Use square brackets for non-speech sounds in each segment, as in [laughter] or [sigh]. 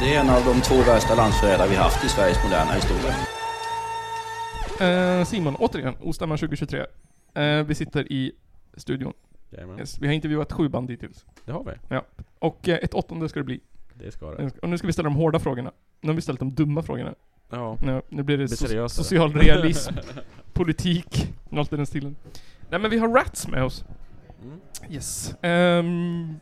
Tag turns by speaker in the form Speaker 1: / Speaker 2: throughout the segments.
Speaker 1: Det är en av de två värsta landsförrädare vi haft i Sveriges moderna historia.
Speaker 2: Eh, Simon, återigen, Ostämman 2023. Eh, vi sitter i studion.
Speaker 3: Jajamän,
Speaker 2: Yes, vi har intervjuat sju band dittills.
Speaker 3: det har vi.
Speaker 2: Och eh, ett åttonde ska det bli.
Speaker 3: Det ska det.
Speaker 2: Nu ska- Och nu ska vi ställa de hårda frågorna. Nu har vi ställt de dumma frågorna.
Speaker 3: Ja.
Speaker 2: Nu, nu blir det
Speaker 3: Bli
Speaker 2: so
Speaker 3: seriösare.
Speaker 2: social
Speaker 3: [laughs]
Speaker 2: realism, politik, något i den stilen. Nej men vi har Rats med oss.
Speaker 3: Mm.
Speaker 2: Yes. Ehm,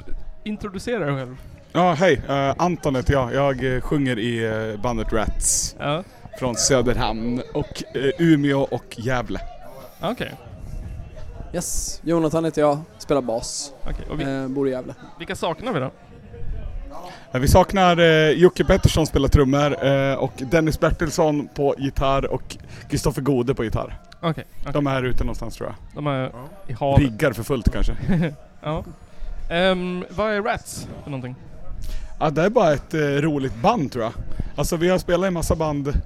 Speaker 2: introducera dig själv.
Speaker 4: Ja, hej. Eh, Anton heter jag. Jag eh, sjunger i eh, bandet Rats
Speaker 2: Ja,
Speaker 4: från Söderhamn och eh, Umeå och Gävle.
Speaker 2: Ah, okej. Okay.
Speaker 5: Yes, Jonathan heter jag, spelar bas,
Speaker 2: Och vi,
Speaker 5: eh, bor i Gävle.
Speaker 2: vilka saknar vi då?
Speaker 4: Eh, vi saknar eh, Jocke Pettersson spelar trummor eh, och Dennis Bertilsson på gitarr och Kristoffer Gode på gitarr.
Speaker 2: Okej, okej.
Speaker 4: De är här ute någonstans tror jag.
Speaker 2: de är
Speaker 3: Ja.
Speaker 2: i havet.
Speaker 4: Riggar för fullt kanske.
Speaker 2: ja. Ehm, vad är Rats för någonting?
Speaker 4: Ja, det är bara ett eh, roligt band tror jag. Alltså vi har spelat i massa band,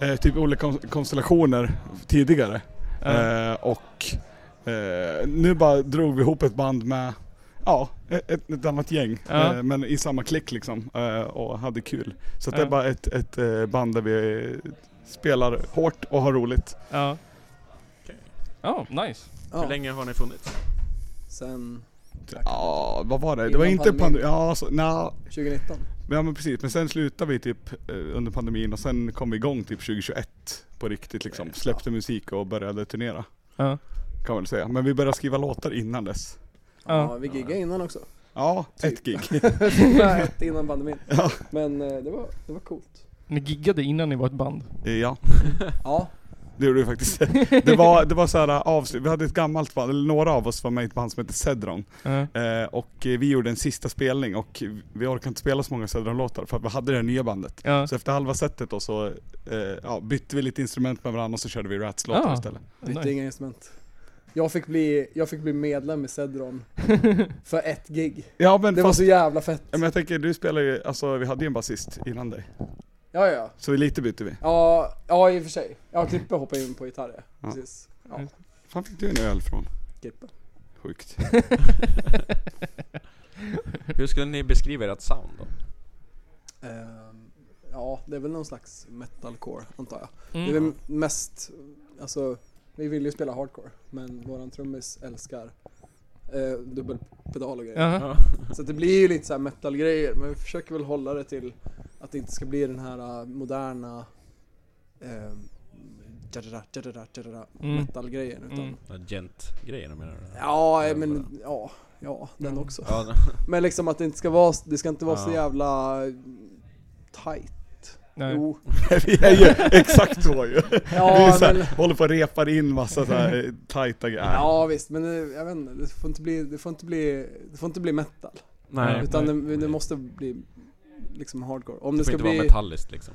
Speaker 4: eh, typ olika kon- konstellationer tidigare.
Speaker 2: Eh,
Speaker 4: Eh, och eh, nu bara drog vi ihop ett band med Ja, e-, ett, ett annat gäng.
Speaker 2: Ja.
Speaker 4: Eh, men i samma klick liksom. Eh, och hade kul. Så att det
Speaker 2: Ja.
Speaker 4: är bara ett, ett eh, band där vi eh, spelar hårt och har roligt.
Speaker 2: Ja.
Speaker 3: Okej.
Speaker 2: Ja, nice.
Speaker 3: Hur
Speaker 5: Ja,
Speaker 3: länge har ni funnits?
Speaker 5: sen
Speaker 4: Ja, vad var det? Det var
Speaker 5: Innan
Speaker 4: inte
Speaker 5: pandemin.
Speaker 4: pandemin. Ja, så, nja,
Speaker 5: 2019.
Speaker 4: ja, men precis. Men sen slutade vi typ eh, under pandemin och sen kom vi igång typ 2021 på riktigt liksom. Släppte musik och började turnera.
Speaker 2: Ja.
Speaker 4: Kan man väl säga. Men vi började skriva låtar innan dess.
Speaker 5: Ja,
Speaker 2: Ja.
Speaker 5: vi giggade innan
Speaker 4: [laughs]
Speaker 5: också.
Speaker 4: Ja, ett gig.
Speaker 5: Nej, ett innan pandemin.
Speaker 4: Ja.
Speaker 5: Men eh, det, var, det var coolt.
Speaker 2: Ni giggade innan ni var ett band.
Speaker 4: Eh, Ja,
Speaker 5: Ja,
Speaker 4: det gjorde vi faktiskt. [laughs] Det var, det var så här eh, avslut, vi hade ett gammalt band, eller några av oss var med i ett band som hette Cedron.
Speaker 2: Ja.
Speaker 4: Eh, och eh, vi gjorde en sista spelning och vi orkade inte spela så många Cedron-låtar för att vi hade det här nya bandet.
Speaker 2: Ja.
Speaker 4: Så efter halva setet då så eh, ja, bytte vi lite instrument med varandra och så körde vi Rats-låtar
Speaker 2: Ah.
Speaker 4: istället.
Speaker 5: bytte
Speaker 2: Nice.
Speaker 5: inga instrument. Jag fick, bli, jag fick bli medlem i
Speaker 4: [laughs]
Speaker 5: Cedron för ett gig.
Speaker 4: Ja men,
Speaker 5: Det var
Speaker 4: fast,
Speaker 5: så jävla fett.
Speaker 4: ja, men jag tänker du spelar ju, alltså vi hade ju en basist innan dig.
Speaker 5: Ja, ja.
Speaker 4: Så lite bytte vi.
Speaker 5: Ja, ja i och för sig. Ja, Klippe hoppade in på gitarr ja.
Speaker 4: Ja.
Speaker 5: Precis. Ja,
Speaker 4: Fan fick du en öl från?
Speaker 5: Klippe.
Speaker 4: Sjukt.
Speaker 3: Hur skulle ni beskriva ert sound då?
Speaker 5: Ehm, ja, det är väl någon slags metalcore antar jag. Det är
Speaker 2: Mm.
Speaker 5: väl mest, alltså vi vill ju spela hardcore men våran trummis älskar eh, dubbelpedal och grejer.
Speaker 2: Jaha.
Speaker 3: Ja.
Speaker 5: Så att det blir ju lite så här metal-grejer men vi försöker väl hålla det till att det inte ska bli den här eh, moderna eh, jadada, jadada, jadada,
Speaker 2: Mm.
Speaker 5: metal-grejen utan
Speaker 2: Mm.
Speaker 3: Gent-grejerna menar du?
Speaker 5: ja, eh,
Speaker 3: Jävla.
Speaker 5: men ja, ja den
Speaker 2: Mm.
Speaker 5: också.
Speaker 3: Ja,
Speaker 5: Men liksom att det inte ska vara, det ska inte vara så
Speaker 3: Ja.
Speaker 5: jävla tight.
Speaker 2: Nej.
Speaker 5: Jo,
Speaker 4: [laughs] vi är ju exakt så ju. vi är
Speaker 5: [laughs] ja,
Speaker 4: så här,
Speaker 5: men,
Speaker 4: håller på och repar in massa så här eh, tajta grejer.
Speaker 5: Ja visst, men eh, jag vet inte, det får inte bli, det får inte bli, det får inte bli metal.
Speaker 3: nej.
Speaker 5: utan
Speaker 3: nej.
Speaker 5: det, det måste bli liksom hardcore. Om
Speaker 3: det får
Speaker 5: det, ska
Speaker 3: inte vara
Speaker 5: bli...
Speaker 3: metalliskt liksom.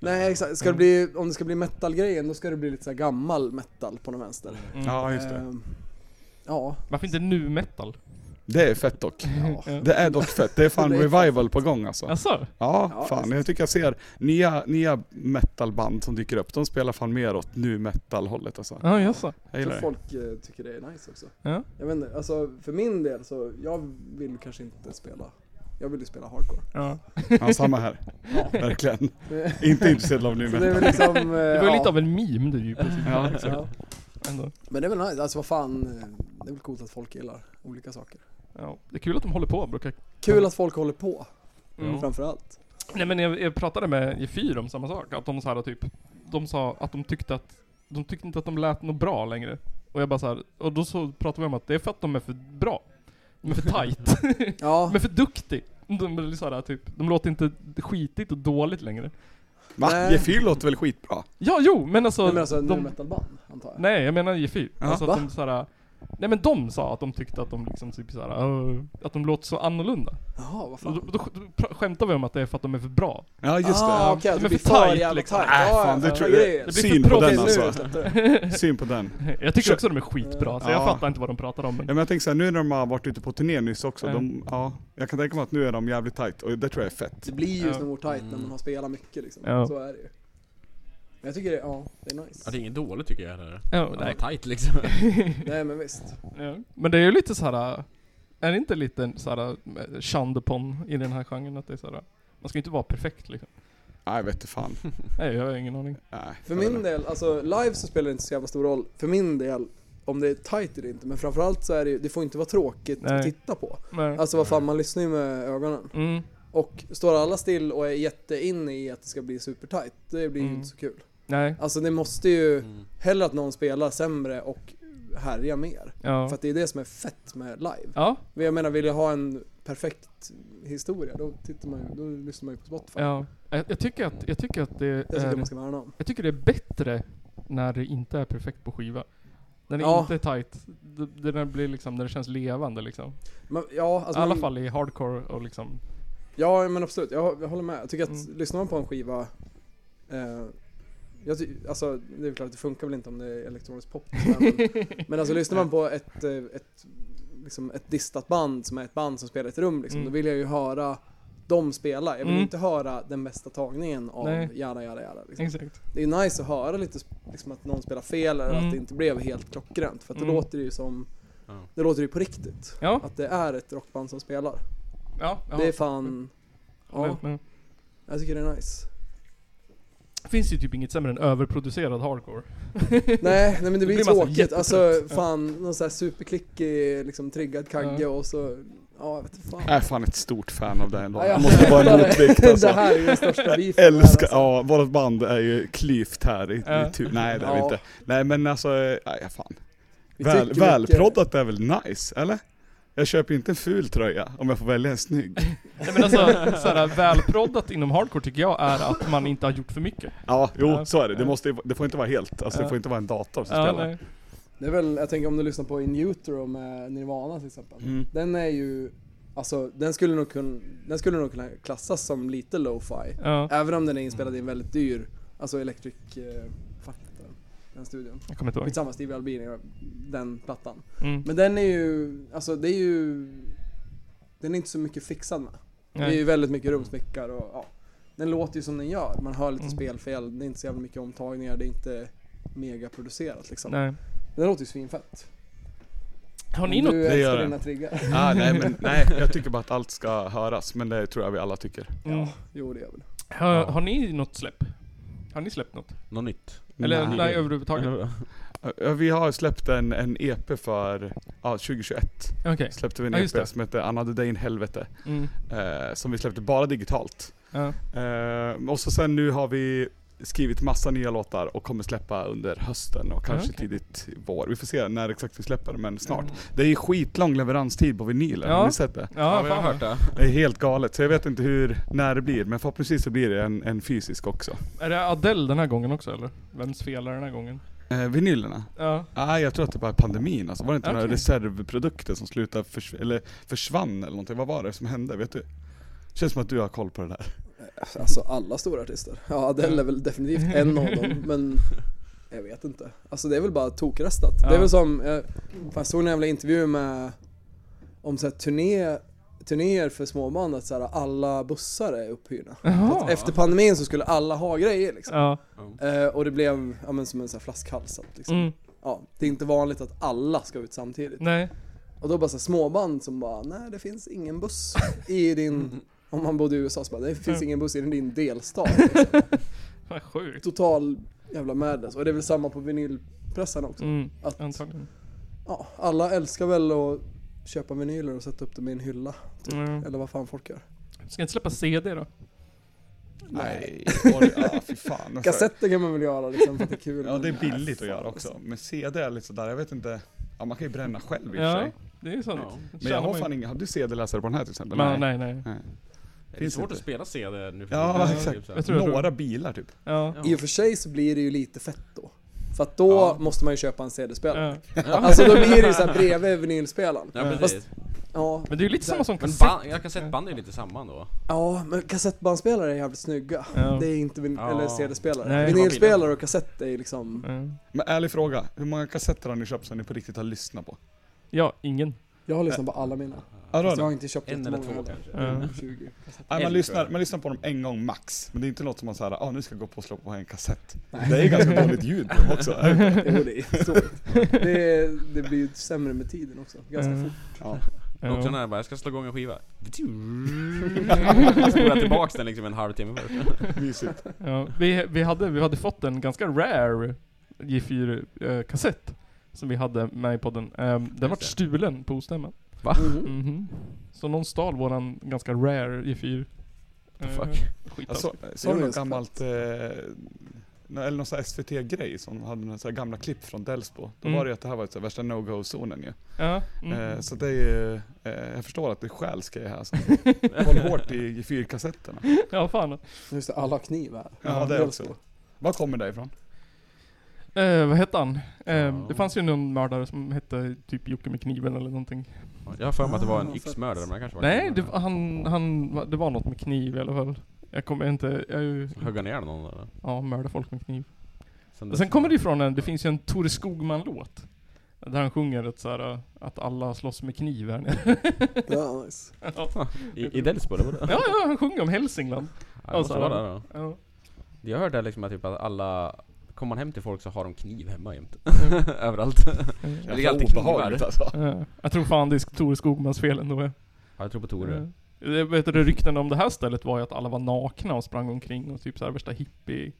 Speaker 5: Nej exakt, ska det bli, om det ska bli metal-grejen då ska det bli lite så här gammal metal på någon vänster.
Speaker 2: Mm.
Speaker 4: Ja, just det.
Speaker 5: Ehm, ja,
Speaker 2: Varför inte nu metal?
Speaker 4: Det är fett dock.
Speaker 5: ja.
Speaker 2: [laughs] Ja.
Speaker 4: Det är dock fett, det är
Speaker 5: [laughs]
Speaker 4: fan
Speaker 5: Det är
Speaker 4: revival på gång alltså.
Speaker 2: Alltså,
Speaker 4: Ja,
Speaker 5: Ja,
Speaker 4: fan.
Speaker 5: visst.
Speaker 4: Jag tycker jag ser nya, nya metalband som dyker upp, de spelar fan mer åt nu metal-hållet alltså.
Speaker 2: Ja, jaså.
Speaker 4: Jag
Speaker 5: Jag
Speaker 4: gillar
Speaker 5: tror
Speaker 4: det.
Speaker 5: folk eh, tycker det är nice också.
Speaker 2: Ja.
Speaker 5: Jag vet inte, alltså för min del så, jag vill kanske inte spela, jag vill ju spela hardcore.
Speaker 2: Ja.
Speaker 4: Ja, samma
Speaker 5: [laughs]
Speaker 4: här. [laughs] Verkligen. Inte intresserad av nu
Speaker 5: Så det är väl
Speaker 4: metal.
Speaker 5: liksom... eh,
Speaker 2: Det var ju
Speaker 5: ja.
Speaker 2: lite av en meme du ju
Speaker 4: [laughs]
Speaker 2: precis.
Speaker 4: Ja, exakt.
Speaker 5: Ja.
Speaker 2: Ändå.
Speaker 5: Men det är väl nice, alltså vad fan, eh, det är väl coolt att folk gillar olika saker.
Speaker 2: Ja. Det är kul att de håller på brukar
Speaker 5: Kul att folk håller på,
Speaker 2: Mm.
Speaker 5: framförallt.
Speaker 2: Nej men jag, jag pratade med Gefyr om samma sak, att de så här typ, de sa att de tyckte att, de tyckte inte att de lät något bra längre. Och jag bara så här, och då så pratade vi om att det är för att de är för bra. De är för tight. [laughs]
Speaker 5: Ja,
Speaker 2: de är för duktig. De, är så här, typ, de låter inte skitigt och dåligt längre.
Speaker 4: Va?
Speaker 5: Nej.
Speaker 4: Gefyr låter väl skitbra?
Speaker 2: Ja, jo, men alltså...
Speaker 5: nej, men alltså nu
Speaker 2: de,
Speaker 5: metalband antar jag.
Speaker 2: nej, jag menar Gefyr.
Speaker 4: Ja,
Speaker 2: alltså
Speaker 5: va?
Speaker 2: att de så här, Nej men de sa att de tyckte att de liksom typ så här, "Åh", att de låter så annorlunda.
Speaker 5: Jaha, vad
Speaker 2: Och
Speaker 5: fan.
Speaker 2: då, då, då pra- skämtar vi om att det är för att de är för bra. [laughs]
Speaker 4: Ja, just
Speaker 5: Ah,
Speaker 4: det.
Speaker 5: okej,
Speaker 2: De är
Speaker 5: det blir
Speaker 2: för
Speaker 5: för
Speaker 2: tight,
Speaker 5: jävla
Speaker 2: liksom.
Speaker 5: tight.
Speaker 4: Äh,
Speaker 5: Ja,
Speaker 4: fan, det
Speaker 5: ja,
Speaker 4: tror
Speaker 5: ja,
Speaker 4: jag-
Speaker 5: grejer.
Speaker 2: Det blir
Speaker 4: Syn
Speaker 2: för
Speaker 4: på den
Speaker 2: proffsigt
Speaker 5: Okej, nu [laughs]
Speaker 4: alltså.
Speaker 5: fattar jag.
Speaker 4: Syn på den.
Speaker 2: Jag tycker också att de är skitbra, så jag
Speaker 4: Ja.
Speaker 2: fattar inte vad de pratar om. Men...
Speaker 4: Ja, men jag tänker såhär, nu när de har varit ute på turné nyss också,
Speaker 2: Ja.
Speaker 4: de, ja, jag kan tänka mig att nu är de jävligt tight och det tror jag är fett.
Speaker 5: Det blir ju
Speaker 2: Ja.
Speaker 5: snor tight när man har spelat mycket liksom.
Speaker 2: Ja.
Speaker 5: Så är det ju. Men jag tycker det, ja, det är nice.
Speaker 3: Ja, det är inget dåligt tycker jag heller.
Speaker 2: Ja,
Speaker 3: Ja,
Speaker 2: nej. [laughs]
Speaker 3: tight liksom.
Speaker 5: Nej men visst.
Speaker 2: Ja. Men det är ju lite så här. Är det inte lite så här eh, shunned upon i den här genren? Att det är så här, Man ska ju inte vara perfekt liksom.
Speaker 4: Nej, jag vet inte fan.
Speaker 2: Nej, jag har ingen aning.
Speaker 4: Nej,
Speaker 5: För
Speaker 4: jag vet
Speaker 5: min
Speaker 4: inte.
Speaker 5: del, alltså live så spelar det inte så jävla stor roll. För min del, om det är tight eller inte. Men framförallt så är det ju, det får inte vara tråkigt
Speaker 2: Nej.
Speaker 5: att titta på.
Speaker 2: Nej.
Speaker 5: Alltså vad fan, man lyssnar ju med ögonen.
Speaker 2: Mm.
Speaker 5: Och står alla still och är jätteinne i att det ska bli supertight, det blir ju
Speaker 2: Mm.
Speaker 5: inte så kul.
Speaker 2: Nej.
Speaker 5: Alltså det måste ju,
Speaker 3: Mm.
Speaker 5: hellre att någon spelar sämre och härjar mer.
Speaker 2: Ja.
Speaker 5: För att det är det som är fett med live.
Speaker 2: Ja.
Speaker 5: Men jag menar, vill jag ha en perfekt historia, då tittar man ju, då lyssnar man ju på Spotify.
Speaker 2: ja. Jag, jag tycker att, jag tycker att det
Speaker 5: Det tycker jag
Speaker 2: är,
Speaker 5: man ska värna om.
Speaker 2: jag tycker det är bättre när det inte är perfekt på skiva. När det
Speaker 5: Ja.
Speaker 2: inte är tight. Det, det där blir liksom, när det känns levande liksom.
Speaker 5: Men, ja, alltså
Speaker 2: I alla
Speaker 5: man-
Speaker 2: fall i hardcore och liksom.
Speaker 5: Ja, men absolut. Jag, jag håller med. Jag tycker att
Speaker 2: Mm.
Speaker 5: lyssnar man på en skiva eh, jag ty- alltså, det är väl klart, det funkar väl inte om det är elektronisk pop. Men,
Speaker 2: [laughs]
Speaker 5: men alltså lyssnar man på ett, eh, ett, liksom ett distat band som är ett band som spelar i ett rum liksom,
Speaker 2: Mm.
Speaker 5: då vill jag ju höra dem spela. Jag vill
Speaker 2: Mm.
Speaker 5: inte höra den bästa tagningen av
Speaker 2: Nej.
Speaker 5: jada jada jada. Liksom.
Speaker 2: Exakt.
Speaker 5: Det är nice att höra lite sp- liksom, att någon spelar fel eller
Speaker 2: Mm.
Speaker 5: att det inte blev helt klockrent. För att det
Speaker 2: Mm.
Speaker 5: låter ju som,
Speaker 3: Ja.
Speaker 5: det låter ju på riktigt.
Speaker 2: Ja.
Speaker 5: Att det är ett rockband som spelar.
Speaker 2: Ja. ja.
Speaker 5: Det är fan, ja.
Speaker 2: Men-
Speaker 5: Jag tycker det är
Speaker 2: [laughs]
Speaker 5: nice.
Speaker 2: Det finns ju typ inget sämre än överproducerad
Speaker 5: [laughs]
Speaker 2: hardcore.
Speaker 5: Nej, nej men det
Speaker 2: Då
Speaker 5: blir
Speaker 2: blir man så
Speaker 5: tråkigt.
Speaker 2: jättetrött.
Speaker 5: Alltså
Speaker 2: Ja.
Speaker 5: fan, någon sån här superklickig, liksom triggad kagge
Speaker 2: Ja.
Speaker 5: och så, ja jag vet inte fan.
Speaker 4: Jag är fan ett stort fan av det här
Speaker 5: Ja,
Speaker 4: låten.
Speaker 5: jag-
Speaker 4: Det Äh,
Speaker 5: [laughs]
Speaker 4: måste vara en motvikt alltså.
Speaker 5: Det här är ju den
Speaker 4: [laughs]
Speaker 5: största beefen. här,
Speaker 4: Älskar,
Speaker 5: alltså.
Speaker 4: ja vårt band är ju klyvt här i,
Speaker 2: Ja.
Speaker 4: i tur. Nej det är vi
Speaker 5: Ja.
Speaker 4: inte. Nej men alltså, eh, nej ja, fan.
Speaker 5: Vi
Speaker 4: Väl,
Speaker 5: tycker
Speaker 4: välproddat är väl nice, eller? Jag köper inte en ful tröja om jag får välja en
Speaker 5: [laughs]
Speaker 4: snygg.
Speaker 2: Nej men alltså, såhär, välproddat inom hardcore tycker jag är att man inte har gjort för mycket.
Speaker 4: Ja, jo
Speaker 2: Ja.
Speaker 4: så är det. Det, måste, ju- det får inte vara helt, alltså
Speaker 2: Ja.
Speaker 4: det får inte vara en dator som
Speaker 2: Ja,
Speaker 4: spelar.
Speaker 2: nej.
Speaker 5: mycket. Det är väl, jag tänker om du lyssnar på In Utero med Nirvana till exempel.
Speaker 4: Mm.
Speaker 5: Den är ju, alltså den skulle nog kunna, den skulle nog kunna klassas som lite lo-fi.
Speaker 2: Ja.
Speaker 5: Även om den är inspelad i en väldigt dyr, alltså Electric, eh, fuck heter den, den studion.
Speaker 2: Jag kommer inte ihåg.
Speaker 5: Skitsamma, Steve Albini, den plattan.
Speaker 2: Mm.
Speaker 5: Men den är ju, alltså det är ju, den är inte så mycket fixad med. Det är ju
Speaker 2: Nej.
Speaker 5: väldigt mycket rumsmickar och ja. Den låter ju som den gör, man hör lite
Speaker 2: Mm.
Speaker 5: spelfel, det är inte så jävla mycket omtagningar, det är inte megaproducerat liksom.
Speaker 2: Nej.
Speaker 5: Den låter ju svinfett.
Speaker 2: Har ni
Speaker 5: Om
Speaker 2: något?
Speaker 5: Du
Speaker 4: Det gör
Speaker 5: älskar
Speaker 4: den.
Speaker 5: dina triggar.
Speaker 4: Ah, nej, men, nej, jag tycker bara att allt ska höras, men det tror jag vi alla tycker.
Speaker 2: Mm.
Speaker 5: [laughs] Jo det gör jag väl.
Speaker 2: Har, har ni något släpp? Har ni släppt något?
Speaker 3: [laughs] Något nytt?
Speaker 2: Eller
Speaker 4: Nej.
Speaker 2: nej, överhuvudtaget?
Speaker 4: Mm. Ja, Vi har släppt en, en EP för, ja 2021
Speaker 2: Okej.
Speaker 4: släppte vi en
Speaker 2: Ja, just
Speaker 4: EP
Speaker 2: det.
Speaker 4: som hette Anna the Day in Helvete,
Speaker 2: Mm.
Speaker 4: eh, som vi släppte bara digitalt.
Speaker 2: Ja.
Speaker 4: Eh, och så sen nu har vi skrivit massa nya låtar och kommer släppa under hösten och kanske
Speaker 2: okej. Mm.
Speaker 4: tidigt i vår. Vi får se när exakt vi släpper men snart. Det är ju skitlång leveranstid på vinyler,
Speaker 2: Ja.
Speaker 4: har ni sett det?
Speaker 2: Ja, fan.
Speaker 3: det.
Speaker 4: Det är helt galet, så jag vet inte hur, när det blir men förhoppningsvis så blir det en, en fysisk också.
Speaker 2: Är det Adele den här gången också eller? Vems fel är det den här gången?
Speaker 4: Eh, vinylerna?
Speaker 2: Ja.
Speaker 4: Nej jag tror att det bara är pandemin alltså. Var det inte några
Speaker 2: Okej.
Speaker 4: reservprodukter som slutade förs- eller försvann eller någonting? Vad var det som hände? Vet du? Känns som att du har koll på det där.
Speaker 5: Alltså alla stora artister. Ja Adele är väl definitivt en av
Speaker 2: [laughs]
Speaker 5: dem, men jag vet inte. Alltså det är väl bara tokrestat. Det
Speaker 2: Ja.
Speaker 5: är väl som, jag, fan, jag såg en jävla intervju med, om så här turné, turnéer för småband, att så här, alla bussar är upphyrda.
Speaker 2: Jaha.
Speaker 5: Efter pandemin så skulle alla ha grejer liksom.
Speaker 2: Ja.
Speaker 5: Eh, och det blev ja, men, som en sån här flaskhals. att Liksom.
Speaker 2: Mm.
Speaker 5: Ja, det är inte vanligt att alla ska ut samtidigt.
Speaker 2: Nej.
Speaker 5: Och då bara så här, småband som bara, nej det finns ingen buss i
Speaker 4: [laughs]
Speaker 5: din, om man bodde i USA så bara, det finns
Speaker 2: Ja.
Speaker 5: ingen buss i din delstat. Liksom.
Speaker 2: Fan sjukt.
Speaker 5: Total jävla madness. Och det är väl samma på vinylpressarna också.
Speaker 2: Mm.
Speaker 5: Att,
Speaker 2: Antagligen.
Speaker 5: ja, alla älskar väl att köpa vinyler och sätta upp dem i en hylla.
Speaker 2: Mm.
Speaker 5: Eller vad fan folk gör.
Speaker 4: Alltså-
Speaker 2: Ska inte släppa CD då?
Speaker 4: [laughs] Nej, Oj, ah, fy fan. Alltså,
Speaker 5: Kassetter kan man väl göra liksom för att det är kul. alltså.
Speaker 4: Ja det är
Speaker 5: men-
Speaker 4: billigt att göra också, men CD är lite sådär, jag vet inte, ja man kan ju bränna själv i och för
Speaker 2: Ja.
Speaker 4: sig.
Speaker 2: Det är ju sant.
Speaker 3: Ja.
Speaker 4: Men jag har fan ingen, har du CD-läsare på den här till exempel?
Speaker 2: Nej, nej, nej.
Speaker 3: Det är
Speaker 4: Finns
Speaker 3: svårt
Speaker 4: inte.
Speaker 3: att spela CD nu för
Speaker 4: Ja,
Speaker 3: tiden.
Speaker 4: exakt.
Speaker 3: Typ så här.
Speaker 2: Jag tror jag
Speaker 4: Några bilar typ.
Speaker 2: Ja.
Speaker 5: I och för sig så blir det ju lite fett då. För att då
Speaker 4: Ja.
Speaker 5: måste man ju köpa en CD-spelare.
Speaker 2: Ja.
Speaker 5: Alltså då blir det ju såhär bredvid vinylspelaren.
Speaker 3: Ja, men,
Speaker 5: Fast- Ja,
Speaker 2: Men det är ju lite samma som
Speaker 3: men
Speaker 2: kassett.
Speaker 3: band, jag kan säga att band är lite samma ändå.
Speaker 5: ja, men kassettbandspelare är jävligt snygga.
Speaker 2: Ja.
Speaker 5: Det är inte vin-
Speaker 3: Ja.
Speaker 5: eller CD-spelare.
Speaker 2: Nej.
Speaker 5: Vinylspelare och kassett är ju liksom,
Speaker 2: Ja.
Speaker 4: Men ärlig fråga, hur många kassetter har ni köpt som ni på riktigt har lyssnat på?
Speaker 2: Ja, ingen.
Speaker 5: jag har lyssnat på alla mina.
Speaker 4: Ja, då,
Speaker 5: Fast jag
Speaker 4: då.
Speaker 5: har inte köpt
Speaker 3: En eller
Speaker 5: jättemånga
Speaker 3: två Mm.
Speaker 5: heller.
Speaker 3: kanske.
Speaker 2: Ja.
Speaker 5: [laughs] 20.
Speaker 2: [laughs]
Speaker 4: Nej, man,
Speaker 3: en, tror
Speaker 4: lyssnar,
Speaker 3: jag.
Speaker 4: man lyssnar på dem en gång max, men det är inte något som man såhär, ah nu ska jag gå på och slå på en kassett. Det är ganska dåligt ljud på dem också. är det
Speaker 5: [laughs]
Speaker 4: inte?
Speaker 5: Jo, det är så. Det, det blir ju sämre med tiden också, ganska
Speaker 2: Ja.
Speaker 5: fort.
Speaker 4: Ja.
Speaker 2: Ja.
Speaker 3: Också när jag bara, jag ska slå igång en skiva.
Speaker 2: [laughs]
Speaker 3: Spola tillbaks den liksom en halvtimme först.
Speaker 4: Mysigt.
Speaker 2: Ja, vi, vi, hade, vi hade fått en ganska rare J4-kassett som vi hade med i podden. Ehm, den var
Speaker 3: det. Mm-hmm.
Speaker 2: stulen på ostämman.
Speaker 3: Mm.
Speaker 5: Mhm.
Speaker 2: Mhm. Så någon stal våran ganska rare J4.
Speaker 3: The
Speaker 2: Ehm,
Speaker 3: fuck?
Speaker 2: skit
Speaker 4: Alltså,
Speaker 2: alltså.
Speaker 4: såg
Speaker 5: Jo,
Speaker 4: du
Speaker 5: men
Speaker 4: något
Speaker 5: så-
Speaker 4: gammalt, eh, nå- eller någon sån här SVT-grej som hade några så här gamla klipp från Delsbo. Då
Speaker 2: Mm.
Speaker 4: var det ju att det här var ett så här värsta no-go-zonen ju.
Speaker 2: Ja, mm.
Speaker 4: Eh, så det är ju, eh, jag förstår att det stjäls grejer här. Så. Håll hårt i fyrkassetterna.
Speaker 2: ja, fan.
Speaker 5: Just det, alla har kniv här.
Speaker 4: Ja, det
Speaker 5: Dels
Speaker 4: också.
Speaker 5: då.
Speaker 4: Var kommer det ifrån?
Speaker 2: Eh, vad hette han? Ehm,
Speaker 3: Ja.
Speaker 2: Det fanns ju någon mördare som hette typ Jocke med kniven eller någonting.
Speaker 3: Jag har för mig att det var en
Speaker 5: Ah,
Speaker 3: yxmördare men det kanske var
Speaker 2: Nej, det, var- han, han, va- det var något med kniv i alla fall. Jag kommer inte, jag är ju,
Speaker 3: Högga ner någon eller?
Speaker 2: ja, mörda folk med kniv.
Speaker 3: Sen,
Speaker 2: Och sen kommer det ifrån en, det finns ju en Tore Skogman-låt. Där han sjunger ett så här, äh, att alla slåss med kniv här nere. [laughs]
Speaker 5: Ja, nice.
Speaker 3: I, i Delsbo eller vadå?
Speaker 2: Ja, ja, han sjunger om Hälsingland.
Speaker 3: Ja, det måste
Speaker 2: så-
Speaker 3: vara där då.
Speaker 2: Ja.
Speaker 3: Jag hörde liksom att typ att alla Kommer man hem till folk så har de kniv hemma jämt. [laughs] Överallt. Det ligger alltid knivar.
Speaker 4: Obehagligt alltså.
Speaker 2: Eh, Jag tror fan det är Tore Skogmans fel ändå.
Speaker 3: Ja, jag tror på Tore.
Speaker 2: Eh, det- Vet du, rykten om det här stället var ju att alla var nakna och sprang omkring och typ så här värsta hippie...
Speaker 4: Är det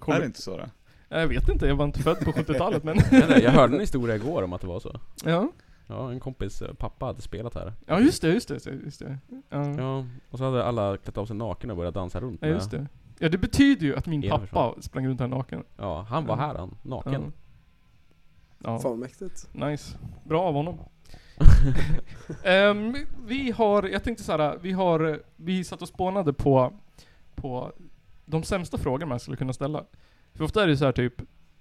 Speaker 2: Koll-
Speaker 4: inte så det?
Speaker 2: jag vet inte, jag var inte född på 70-talet men...
Speaker 3: Nej, nej, Jag hörde en historia igår om att det var så.
Speaker 2: ja.
Speaker 3: Ja, en kompis eh, pappa hade spelat här.
Speaker 2: ja, just det, just det, just det. Ja.
Speaker 3: Ja, och så hade alla klätt av sig naken och börjat dansa runt
Speaker 2: Mm. Ja
Speaker 3: med-
Speaker 2: just det. Ja det betyder ju att min
Speaker 3: Elen
Speaker 2: pappa sprang runt här naken.
Speaker 3: Ja, han
Speaker 2: Mm.
Speaker 3: var här han, naken.
Speaker 2: Ja,
Speaker 5: Fan vad mäktigt.
Speaker 2: nice. Bra av honom. Ehm, vi har, jag tänkte så här, vi har, vi satt och spånade på, på de sämsta frågor man skulle kunna ställa. För ofta är det så här typ,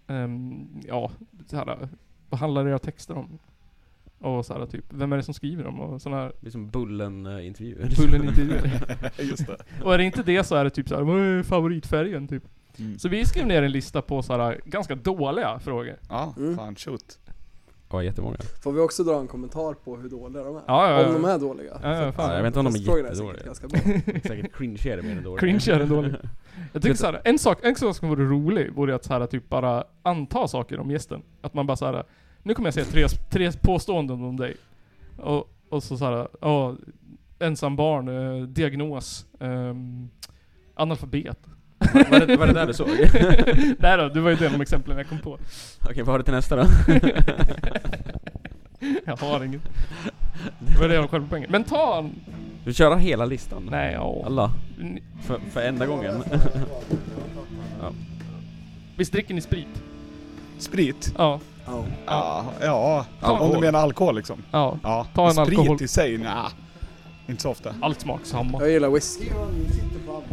Speaker 2: ehm, ja, så här, vad handlar era texter om? Och så här typ, vem är det som skriver dem? Och sådana här
Speaker 3: Det är som eh, Bullen-intervjuer.
Speaker 2: Bullen-intervjuer.
Speaker 4: Just det.
Speaker 2: och är det inte det så är det typ så här, vad är favoritfärgen? Typ.
Speaker 4: Mm.
Speaker 2: Så vi skrev ner en lista på så här ganska dåliga frågor.
Speaker 4: Ja,
Speaker 5: Mm.
Speaker 4: fan shoot.
Speaker 3: Ja, jättemånga.
Speaker 5: Får vi också dra en kommentar på hur dåliga de är?
Speaker 2: Ja, ja, ja.
Speaker 5: Om de är dåliga.
Speaker 2: Ja, ja, fan.
Speaker 3: Ja, jag vet inte om de är
Speaker 5: Testfrågan säkert
Speaker 3: jättedåliga.
Speaker 5: ganska bra.
Speaker 3: Säkert cringe är det mer än dåligt.
Speaker 2: Cringe är en dålig. Jag tycker
Speaker 3: Vet-
Speaker 2: så här, en sak, en sak som vore rolig vore att så här, typ bara anta saker om gästen. Att man bara så här, nu kommer jag säga tre, tre påståenden om dig. Och, och så så här, ja, ensam barn, eh, diagnos, ehm, analfabet.
Speaker 3: Var det, var det där du såg?
Speaker 2: [laughs] Nej då, det var ju de exemplen jag kom på. [laughs]
Speaker 3: Okej, vad har du till nästa då?
Speaker 2: jag har inget. Det var det jag själv poängen. Men ta en...
Speaker 3: Du köra hela listan?
Speaker 2: Nej, ja.
Speaker 3: Alla?
Speaker 2: Ni-
Speaker 3: För, för enda [laughs] gången?
Speaker 2: Visst dricker ni sprit?
Speaker 4: Sprit?
Speaker 2: Ja.
Speaker 5: Ja.
Speaker 4: Ja, ja. om du
Speaker 3: Alkohol.
Speaker 4: menar alkohol liksom.
Speaker 2: Ja.
Speaker 4: Ja.
Speaker 2: Ta en
Speaker 4: Sprit
Speaker 2: alkohol.
Speaker 4: i sig? Nja. Inte så ofta.
Speaker 2: Allt smak samma.
Speaker 5: Jag gillar whisky.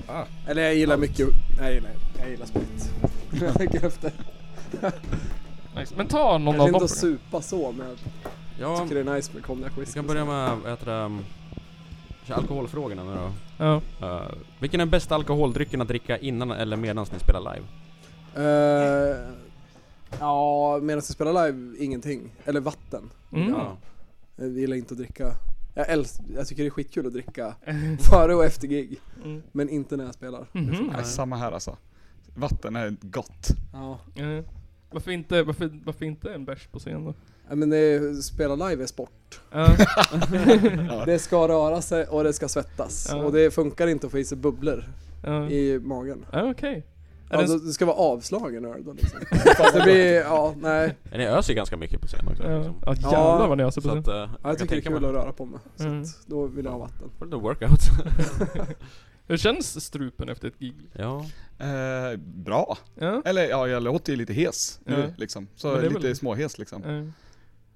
Speaker 2: Ah.
Speaker 5: Eller jag gillar mycket... Jag gillar, jag gillar sprit. [laughs] Jag tänker efter.
Speaker 2: Nice. Men ta någon
Speaker 5: Kanske
Speaker 2: av
Speaker 5: inte
Speaker 2: dem.
Speaker 5: att supa så, men jag
Speaker 3: Ja,
Speaker 5: tycker det är nice med konjak
Speaker 3: vi
Speaker 5: whisky.
Speaker 3: kan börja med, vad heter det, um, kör alkoholfrågorna nu då.
Speaker 2: Ja.
Speaker 3: Eh, vilken är den bästa alkoholdrycken att dricka innan eller medan ni spelar live?
Speaker 5: Eh, ja, medan jag spelar live, ingenting. Eller vatten.
Speaker 2: Mm.
Speaker 3: Ja.
Speaker 5: Jag gillar inte att dricka. Jag, älsk, jag tycker det är skitkul att dricka [laughs] före och efter gig.
Speaker 2: Mm.
Speaker 5: Men inte när jag spelar.
Speaker 2: Mhm.
Speaker 4: Nej, samma här alltså. Vatten är gott.
Speaker 5: Ja.
Speaker 2: Eh, Varför inte, varför, varför inte en bärs på scen då?
Speaker 5: Ja, Men det är, spela live är sport.
Speaker 2: Ja.
Speaker 5: Det ska röra sig och det ska svettas.
Speaker 2: Ja.
Speaker 5: Och det funkar inte att få i sig bubblor
Speaker 2: Ja.
Speaker 5: i magen.
Speaker 2: Ja, Okej. Är det
Speaker 5: Ja, då,
Speaker 2: en-
Speaker 5: du Alltså, ska vara avslagen öl
Speaker 2: [laughs]
Speaker 5: då liksom. Fast det blir, ja, nej.
Speaker 3: Men Ni öser ju ganska mycket på scen också.
Speaker 2: Ja.
Speaker 3: Liksom.
Speaker 2: Ja, jävlar vad ni öser på
Speaker 3: Så
Speaker 2: scen.
Speaker 3: att, eh,
Speaker 5: Ja, jag tycker det är
Speaker 3: tänka
Speaker 5: kul
Speaker 3: mig-
Speaker 5: att röra på mig. Så
Speaker 2: Mm.
Speaker 5: att då vill jag ha vatten.
Speaker 3: Får lite workout. [laughs]
Speaker 2: Hur känns strupen efter ett gig?
Speaker 3: ja.
Speaker 4: Eh, bra.
Speaker 2: Ja.
Speaker 4: Eller ja, jag låter ju lite hes nu
Speaker 2: Ja.
Speaker 4: liksom.
Speaker 2: Men
Speaker 4: Så
Speaker 2: det är
Speaker 4: lite
Speaker 2: väl-
Speaker 4: småhes liksom.
Speaker 2: Eh.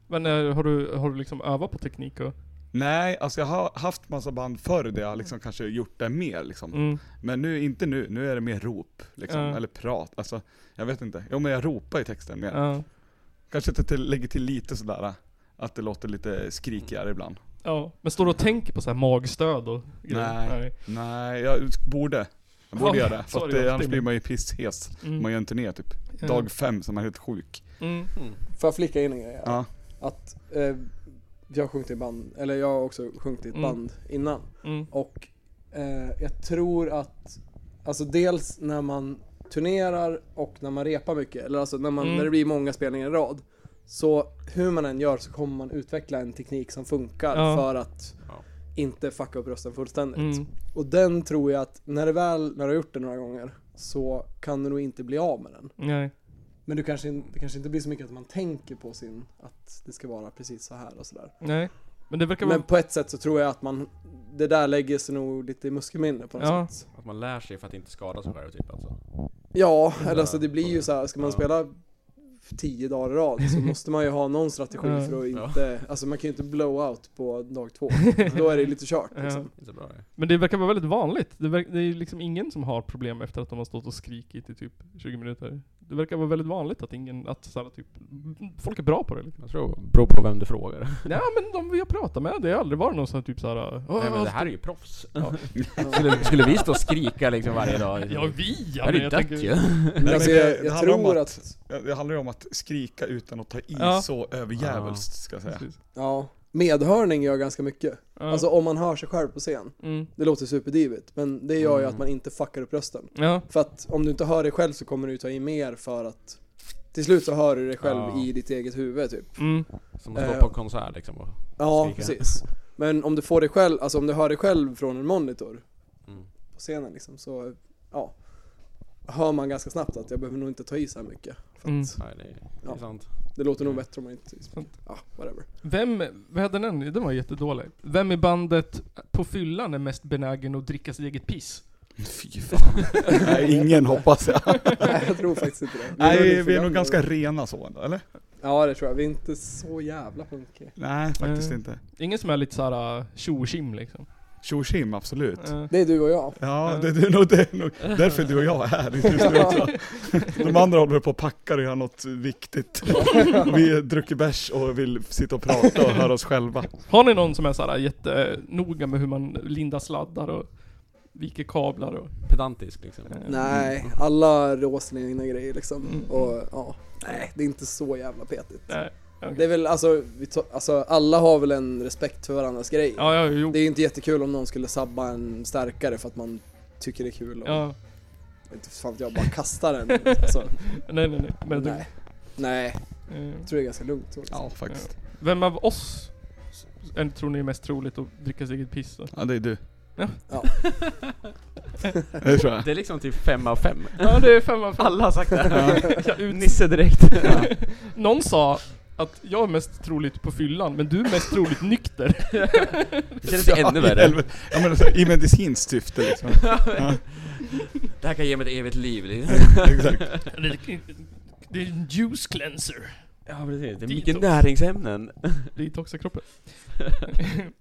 Speaker 2: Men eh, har du, har du liksom övat på teknik och...
Speaker 4: Nej, alltså jag har haft massa band förr där jag liksom kanske gjort det mer liksom.
Speaker 2: Mm.
Speaker 4: Men nu, inte nu. Nu är det mer rop liksom.
Speaker 2: Ja.
Speaker 4: Eller prat. Alltså, jag vet inte. Jo men jag ropar i texten mer.
Speaker 2: Ja.
Speaker 4: Kanske att jag till, lägger till lite sådär. Att det låter lite skrikigare ibland.
Speaker 2: Ja. Men står du och tänker på så här magstöd och
Speaker 4: Nej. Nej, jag borde. Jag borde
Speaker 2: Ja,
Speaker 4: göra det. För
Speaker 2: sorry,
Speaker 4: att det,
Speaker 2: jag
Speaker 4: annars
Speaker 2: stänger.
Speaker 4: blir man ju pisshes.
Speaker 2: Mm.
Speaker 4: Man gör en turné typ.
Speaker 2: Ja.
Speaker 4: Dag fem som man är helt sjuk.
Speaker 2: Mm.
Speaker 5: Får jag flicka in en grej? här?
Speaker 4: Ja.
Speaker 5: Att eh, jag har sjungit i band, eller jag har också sjungit i ett
Speaker 2: Mm.
Speaker 5: band innan.
Speaker 2: Mm.
Speaker 5: Och eh, jag tror att, alltså dels när man turnerar och när man repar mycket, eller alltså när, man,
Speaker 2: Mm.
Speaker 5: när det blir många spelningar i rad. Så hur man än gör så kommer man utveckla en teknik som funkar
Speaker 2: Ja.
Speaker 5: för att
Speaker 3: Ja.
Speaker 5: inte fucka upp rösten fullständigt.
Speaker 2: Mm.
Speaker 5: Och den tror jag att när, det väl, när du har gjort det några gånger så kan du nog inte bli av med den.
Speaker 2: Nej.
Speaker 5: Men du kanske, in- det kanske inte blir så mycket att man tänker på sin, att det ska vara precis så här och sådär.
Speaker 2: Nej. Men det verkar
Speaker 5: Men
Speaker 2: vara...
Speaker 5: på ett sätt så tror jag att man, det där lägger sig nog lite i muskelminne på något
Speaker 2: Ja.
Speaker 5: sätt.
Speaker 3: Att man lär sig för att inte skada sig själv typ alltså.
Speaker 5: Ja,
Speaker 3: Ja,
Speaker 5: eller alltså det blir ju
Speaker 3: ja.
Speaker 5: så här, ska man
Speaker 3: Ja.
Speaker 5: spela tio dagar i rad så
Speaker 2: [laughs]
Speaker 5: måste man ju ha någon strategi
Speaker 2: Ja.
Speaker 5: för att
Speaker 3: Ja.
Speaker 5: inte, alltså man kan ju inte blow out på dag två. [laughs] Alltså Då är det lite kört
Speaker 2: Ja.
Speaker 5: liksom.
Speaker 3: Inte så bra det.
Speaker 2: Men det verkar vara väldigt vanligt. Det, verk, det är ju liksom ingen som har problem efter att de har stått och skrikit i typ 20 minuter. Det verkar vara väldigt vanligt att ingen, att såhär typ, folk är bra på det liksom.
Speaker 3: Jag tror, beror på vem du frågar.
Speaker 2: Ja men de vi har pratat med, det har aldrig varit någon som typ såhär... "Åh,
Speaker 3: Nej men det här är ju proffs.
Speaker 2: Ja.
Speaker 3: skulle, skulle vi stå och skrika liksom varje dag?
Speaker 2: Ja vi!
Speaker 3: Det
Speaker 2: Ja,
Speaker 3: här är
Speaker 2: men
Speaker 3: ju
Speaker 2: jag
Speaker 3: dött ju.
Speaker 2: tänker,
Speaker 5: Men
Speaker 4: men
Speaker 5: alltså
Speaker 4: det-
Speaker 5: jag,
Speaker 4: det
Speaker 5: jag
Speaker 4: handlar om
Speaker 5: tror
Speaker 4: att-
Speaker 5: att,
Speaker 4: Ja, Det handlar ju om att skrika utan att ta i
Speaker 2: Ja.
Speaker 4: så överjävligt ska jag säga.
Speaker 2: Precis.
Speaker 5: ja, medhörning gör ganska mycket.
Speaker 2: Ja.
Speaker 5: Alltså om man hör sig själv på scen.
Speaker 2: mm.
Speaker 5: Det låter superdivigt, men det gör ju
Speaker 3: Mm.
Speaker 5: att man inte fuckar upp rösten.
Speaker 2: ja.
Speaker 5: För att om du inte hör dig själv så kommer du ta i mer för att till slut så hör du dig själv
Speaker 3: Ja.
Speaker 5: i ditt eget huvud typ.
Speaker 2: Mm.
Speaker 3: [laughs] Som att
Speaker 5: Eh.
Speaker 3: stå på konsert liksom och...
Speaker 5: Ja,
Speaker 3: Skrika.
Speaker 5: precis. Men om du får dig själv, alltså om du hör dig själv från en monitor
Speaker 3: Mm.
Speaker 5: på scenen liksom så, ja. Hör man ganska snabbt att jag behöver nog inte ta i så här mycket. För att
Speaker 2: Mm.
Speaker 3: Nej det är, det
Speaker 5: Ja.
Speaker 3: är sant.
Speaker 5: Det låter nog bättre om man inte
Speaker 4: Mm.
Speaker 2: Sant.
Speaker 5: Ja, whatever. [laughs]
Speaker 2: Vem, vad hade den? Den var jättedålig. Vem i bandet på fyllan är mest benägen att dricka sitt eget piss?
Speaker 4: [laughs] Fy fan. Nej, ingen hoppas jag.
Speaker 5: Nej, jag tror faktiskt inte det. Vi
Speaker 4: Nej,
Speaker 5: lite
Speaker 4: vi är nog
Speaker 5: gamla.
Speaker 4: ganska rena så ändå, eller?
Speaker 5: Ja, det tror jag. Vi är inte så jävla punkiga.
Speaker 4: Nej, faktiskt
Speaker 2: Nej.
Speaker 4: inte.
Speaker 2: Ingen som är lite såhär tjo och tjim liksom.
Speaker 4: Tjo och tjim, absolut.
Speaker 2: Eh,
Speaker 5: Det är du och jag.
Speaker 4: Ja, det, det, är nog, det är nog därför du och jag är här just nu också. De andra håller på och packar och gör något viktigt. Vi dricker bärs och vill sitta och prata och höra oss själva.
Speaker 2: Har ni någon som är såhär jättenoga med hur man lindar sladdar och viker kablar och...
Speaker 3: Pedantisk liksom.
Speaker 2: eh,
Speaker 5: Nej, alla råser egna grejer liksom.
Speaker 2: Mm.
Speaker 5: Och ja, nej, det är inte så jävla petigt.
Speaker 2: Nej. okej.
Speaker 5: Det är väl alltså, vi to- alltså, alla har väl en respekt för varandras grejer.
Speaker 2: Ja, ja, jo.
Speaker 5: Det är ju inte jättekul om någon skulle sabba en stärkare för att man tycker det är kul och
Speaker 2: Ja.
Speaker 5: inte fan vet jag bara kastar den. Alltså,
Speaker 2: Nej, nej, nej. Men du,
Speaker 5: nej. Nej,
Speaker 2: eh,
Speaker 5: jag tror det är ganska lugnt. så.
Speaker 4: Ja, faktiskt.
Speaker 2: vem av oss s- en- tror ni är mest troligt att dricka sitt eget piss då?
Speaker 4: Ja, det är du.
Speaker 2: Ja.
Speaker 5: Ja.
Speaker 4: Det tror jag.
Speaker 3: Det är liksom typ fem av fem.
Speaker 2: [laughs] Ja, det är fem av fem.
Speaker 3: Alla har sagt det.
Speaker 2: Jag
Speaker 3: [laughs]
Speaker 2: ut-
Speaker 3: Nisse direkt.
Speaker 2: [laughs] Någon sa att jag är mest troligt på fyllan, men du är mest troligt [laughs] nykter.
Speaker 3: Det känns [laughs] ju ännu värre.
Speaker 4: helvete. Ja, men så, I medicinskt syfte liksom. Ja,
Speaker 3: Det här kan ge mig ett evigt liv. liksom. Det
Speaker 4: exakt.
Speaker 2: Det är en juice cleanser.
Speaker 3: ja precis, det är
Speaker 2: mycket
Speaker 3: mycket näringsämnen.
Speaker 2: Detoxa [laughs] kroppen.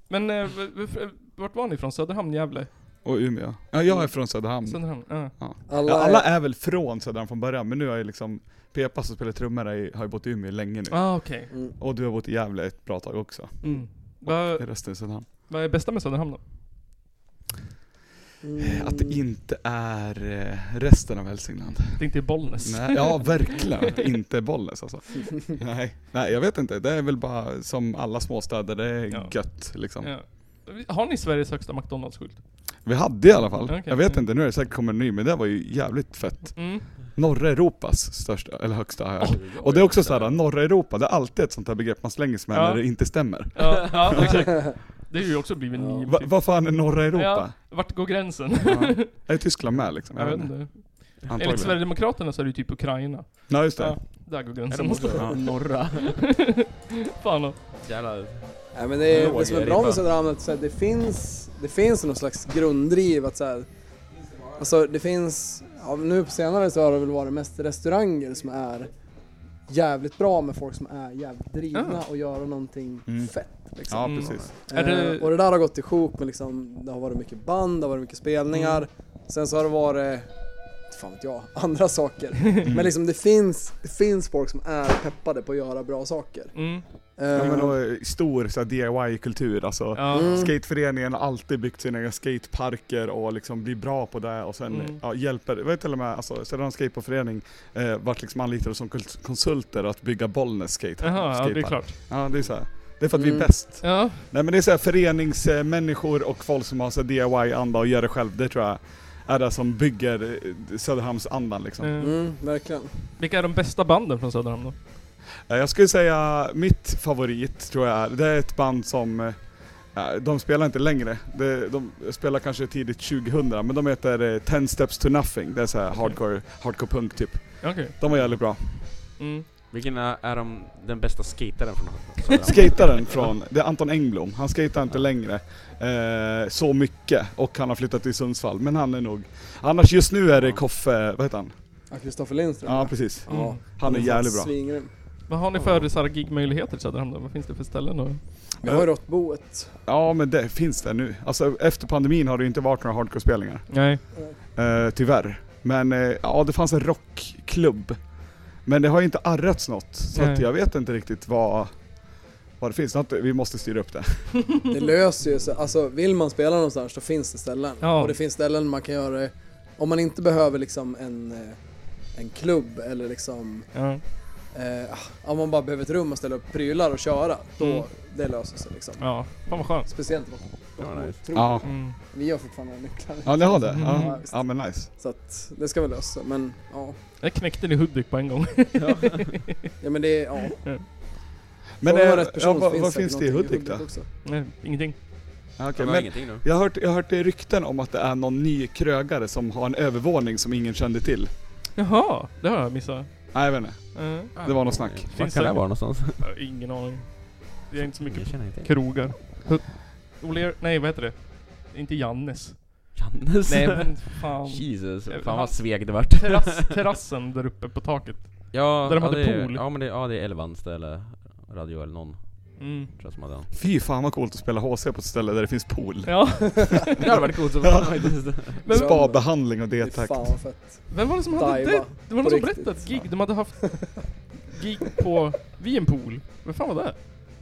Speaker 2: men eh, v- v- vart var ni ifrån? Söderhamn, Gävle?
Speaker 4: Och Umeå. Ja, jag är från Söderhamn.
Speaker 2: Söderhamn? Ja.
Speaker 5: Alla,
Speaker 4: Ja, alla
Speaker 5: alla
Speaker 4: är väl från Söderhamn från början, men nu har jag liksom Pepa som spelar trummor har ju- har ju bott i Umeå länge nu.
Speaker 2: Ah, okej.
Speaker 5: mm.
Speaker 4: Och du har bott i Gävle ett bra tag också.
Speaker 2: Mm. Vad
Speaker 4: I resten av Söderhamn.
Speaker 2: vad är bästa med Söderhamn då?
Speaker 5: Mm.
Speaker 4: Att det inte är eh, resten av Hälsingland.
Speaker 2: Det inte är Bollnäs?
Speaker 4: Nej, ja verkligen. Att det inte är Bollnäs alltså.
Speaker 5: Mm.
Speaker 4: Nej. Nej, jag vet inte. Det är väl bara som alla småstäder, det är
Speaker 2: Ja.
Speaker 4: gött liksom.
Speaker 2: Ja. Har ni Sveriges högsta McDonalds-skylt?
Speaker 4: Vi hade i alla fall.
Speaker 2: Okej.
Speaker 4: Jag vet inte, nu är det säkert kommer en ny, men det var ju jävligt fett.
Speaker 2: Mm.
Speaker 4: Norra Europas största, eller högsta har jag hört. Och det är också såhär, norra Europa, det är alltid ett sånt här begrepp man slänger sig med
Speaker 2: Ja.
Speaker 4: när det inte stämmer.
Speaker 2: Ja, ja exakt. [laughs] Det har ju också blivit nio
Speaker 4: Va,
Speaker 2: betyg.
Speaker 4: vad fan är norra Europa?
Speaker 2: Vart går gränsen?
Speaker 4: Är Tyskland med
Speaker 2: [laughs]
Speaker 4: liksom?
Speaker 2: Jag vet inte. Enligt
Speaker 4: Antagligen.
Speaker 2: Sverigedemokraterna så är det ju typ Ukraina.
Speaker 4: Ja just det.
Speaker 2: Ja. Där går
Speaker 3: Är
Speaker 2: gränsen.
Speaker 3: de
Speaker 2: [laughs]
Speaker 3: också norra?
Speaker 2: Fan och.
Speaker 3: Jävla...
Speaker 5: Nej, men det, är,
Speaker 3: Låg
Speaker 5: det som är
Speaker 3: är
Speaker 5: bra med
Speaker 3: ribban.
Speaker 5: Söderhamn är att så här, det finns, det finns någon slags grunddriv att så här, Alltså det finns, ja, nu på senare så har det väl varit mest restauranger som är jävligt bra med folk som är jävligt drivna
Speaker 2: Ah.
Speaker 5: och göra någonting
Speaker 4: Mm.
Speaker 5: fett. Liksom.
Speaker 4: Ja
Speaker 2: Mm.
Speaker 4: precis.
Speaker 2: Är det-
Speaker 5: Eh, och det där har gått i sjok med liksom, det har varit mycket band, det har varit mycket spelningar.
Speaker 4: Mm.
Speaker 5: Sen så har det varit, inte fan vet jag, [laughs] andra saker.
Speaker 4: Mm.
Speaker 5: Men liksom det finns, det finns folk som är peppade på att göra bra saker.
Speaker 2: Mm.
Speaker 5: Eh,
Speaker 4: Ja, men och, eh, stor så här, DIY-kultur alltså.
Speaker 2: Ja.
Speaker 5: Mm.
Speaker 4: Skateföreningen har alltid byggt sina egna skateparker och liksom blir bra på det och sen
Speaker 2: Mm.
Speaker 4: ja, hjälper, jag vet till och med, alltså Söderhamns skateboardförening eh, vart liksom anlitade som kul- konsulter att bygga Bollnäs skate,
Speaker 2: Jaha, ja det är
Speaker 4: skatepark.
Speaker 2: klart.
Speaker 4: Ja det är så här. Det är för att vi
Speaker 5: Mm.
Speaker 4: är bäst.
Speaker 2: Ja.
Speaker 4: Nej men det är så här föreningsmänniskor och folk som har så här DIY-anda och gör det själv, det tror jag är det som bygger eh, Söderhamnsandan liksom.
Speaker 2: eh,
Speaker 5: Mm, verkligen.
Speaker 2: Vilka är de bästa banden från Söderhamn då?
Speaker 4: Eh, Jag skulle säga mitt favorit tror jag är, det är ett band som eh, de spelar inte längre. De, de spelar kanske tidigt 2000 men de heter eh, Ten Steps to Nothing. Det är så här
Speaker 2: Okej.
Speaker 4: hardcore, hardcore punk typ.
Speaker 2: Ja, Okej.
Speaker 4: De var jävligt bra.
Speaker 2: Mm.
Speaker 3: Vilken är, är de, den bästa skataren från Söderhamn?
Speaker 4: [laughs] Skataren från, det är Anton Engblom, han skatar inte längre eh, så mycket och han har flyttat till Sundsvall, men han är nog... Annars just nu är det Koffe, vad heter han?
Speaker 5: Ja, Kristoffer Lindström.
Speaker 4: Ja precis,
Speaker 2: Mm.
Speaker 4: han är jävligt bra.
Speaker 5: Svingrym.
Speaker 2: Vad har ni för så här, gigmöjligheter i Söderhamn då? Vad finns det för ställen? Och...
Speaker 5: Vi har ju Råttboet.
Speaker 4: Ja men det finns det nu. Alltså efter pandemin har det ju inte varit några hardcore-spelningar,
Speaker 2: Nej.
Speaker 4: eh, tyvärr. Men eh, ja, det fanns en rockklubb. Men det har ju inte arrats något, så
Speaker 2: Nej.
Speaker 4: att jag vet inte riktigt vad, vad det finns. Något, vi måste
Speaker 5: [laughs]
Speaker 4: styra upp det.
Speaker 5: Det löser ju sig. Alltså vill man spela någonstans så finns det ställen.
Speaker 2: Ja.
Speaker 5: Och det finns ställen man kan göra det. Om man inte behöver liksom en, eh, en klubb eller liksom
Speaker 2: Ja.
Speaker 5: eh, om man bara behöver ett rum och ställa upp prylar och köra. Då
Speaker 2: Mm.
Speaker 5: det löser sig liksom.
Speaker 2: ja. Fan vad skönt.
Speaker 5: Speciellt då.
Speaker 3: Ja, nice.
Speaker 5: Tror-
Speaker 4: Ja,
Speaker 2: Mm.
Speaker 5: Vi har fortfarande nycklar.
Speaker 4: ja ni har det?
Speaker 2: Mm.
Speaker 4: Ja, ja men nice.
Speaker 5: Så att det ska väl lösa sig. Men ja.
Speaker 2: Jag knäckte din Hudik på en gång. [laughs]
Speaker 5: ja, men det är ja.
Speaker 4: Men
Speaker 5: Om man
Speaker 4: eh,
Speaker 5: har rätt person
Speaker 4: ja,
Speaker 5: så
Speaker 4: vad,
Speaker 5: finns
Speaker 4: vad
Speaker 5: säkert
Speaker 4: finns det i
Speaker 5: någonting
Speaker 4: Hudik då?
Speaker 5: också.
Speaker 2: Nej, ingenting.
Speaker 4: Ja,
Speaker 3: Det
Speaker 4: okej,
Speaker 3: var
Speaker 4: men
Speaker 3: ingenting nu.
Speaker 4: Jag har hört, jag har hört det rykten om att det är någon ny krögare som har en övervåning som ingen kände till.
Speaker 2: Jaha, det har jag missat.
Speaker 4: Nej jag vet inte.
Speaker 2: Eh,
Speaker 4: det var något snack.
Speaker 3: Var
Speaker 2: Finns
Speaker 3: kan
Speaker 2: det-
Speaker 3: det vara någonstans?
Speaker 2: jag har ingen aning. Det är inte så
Speaker 3: Jag
Speaker 2: mycket
Speaker 3: känner inte igen.
Speaker 2: krogar. Oler, nej vad heter det? Inte [laughs] Jannes.
Speaker 3: Jannes?
Speaker 2: Nej men
Speaker 3: [laughs]
Speaker 2: fan.
Speaker 3: Jesus,
Speaker 2: Jag-
Speaker 3: fan
Speaker 2: han-
Speaker 3: vad sveg det vart.
Speaker 2: Terrass, terrassen där uppe på taket.
Speaker 3: Ja,
Speaker 2: Där de
Speaker 3: ja,
Speaker 2: hade
Speaker 3: det är-
Speaker 2: pool.
Speaker 3: Ja men det, ja, det är Elvanste eller Radio eller någon
Speaker 2: Mm.
Speaker 3: tror jag som hade den.
Speaker 4: Fy fan vad coolt att spela HC på ett ställe där det finns pool.
Speaker 2: [laughs] Ja.
Speaker 3: Det hade varit coolt som fan faktiskt.
Speaker 2: Men-
Speaker 4: Spa-behandling och
Speaker 5: Det är
Speaker 4: detakt.
Speaker 5: fan vad fett.
Speaker 2: Vem var det som hade
Speaker 5: Daiwa.
Speaker 2: det? typ. Det var
Speaker 5: På
Speaker 2: någon som
Speaker 5: riktigt.
Speaker 2: berättade ett gig de hade haft. Gig på, [laughs] vid en pool. Vem fan var det?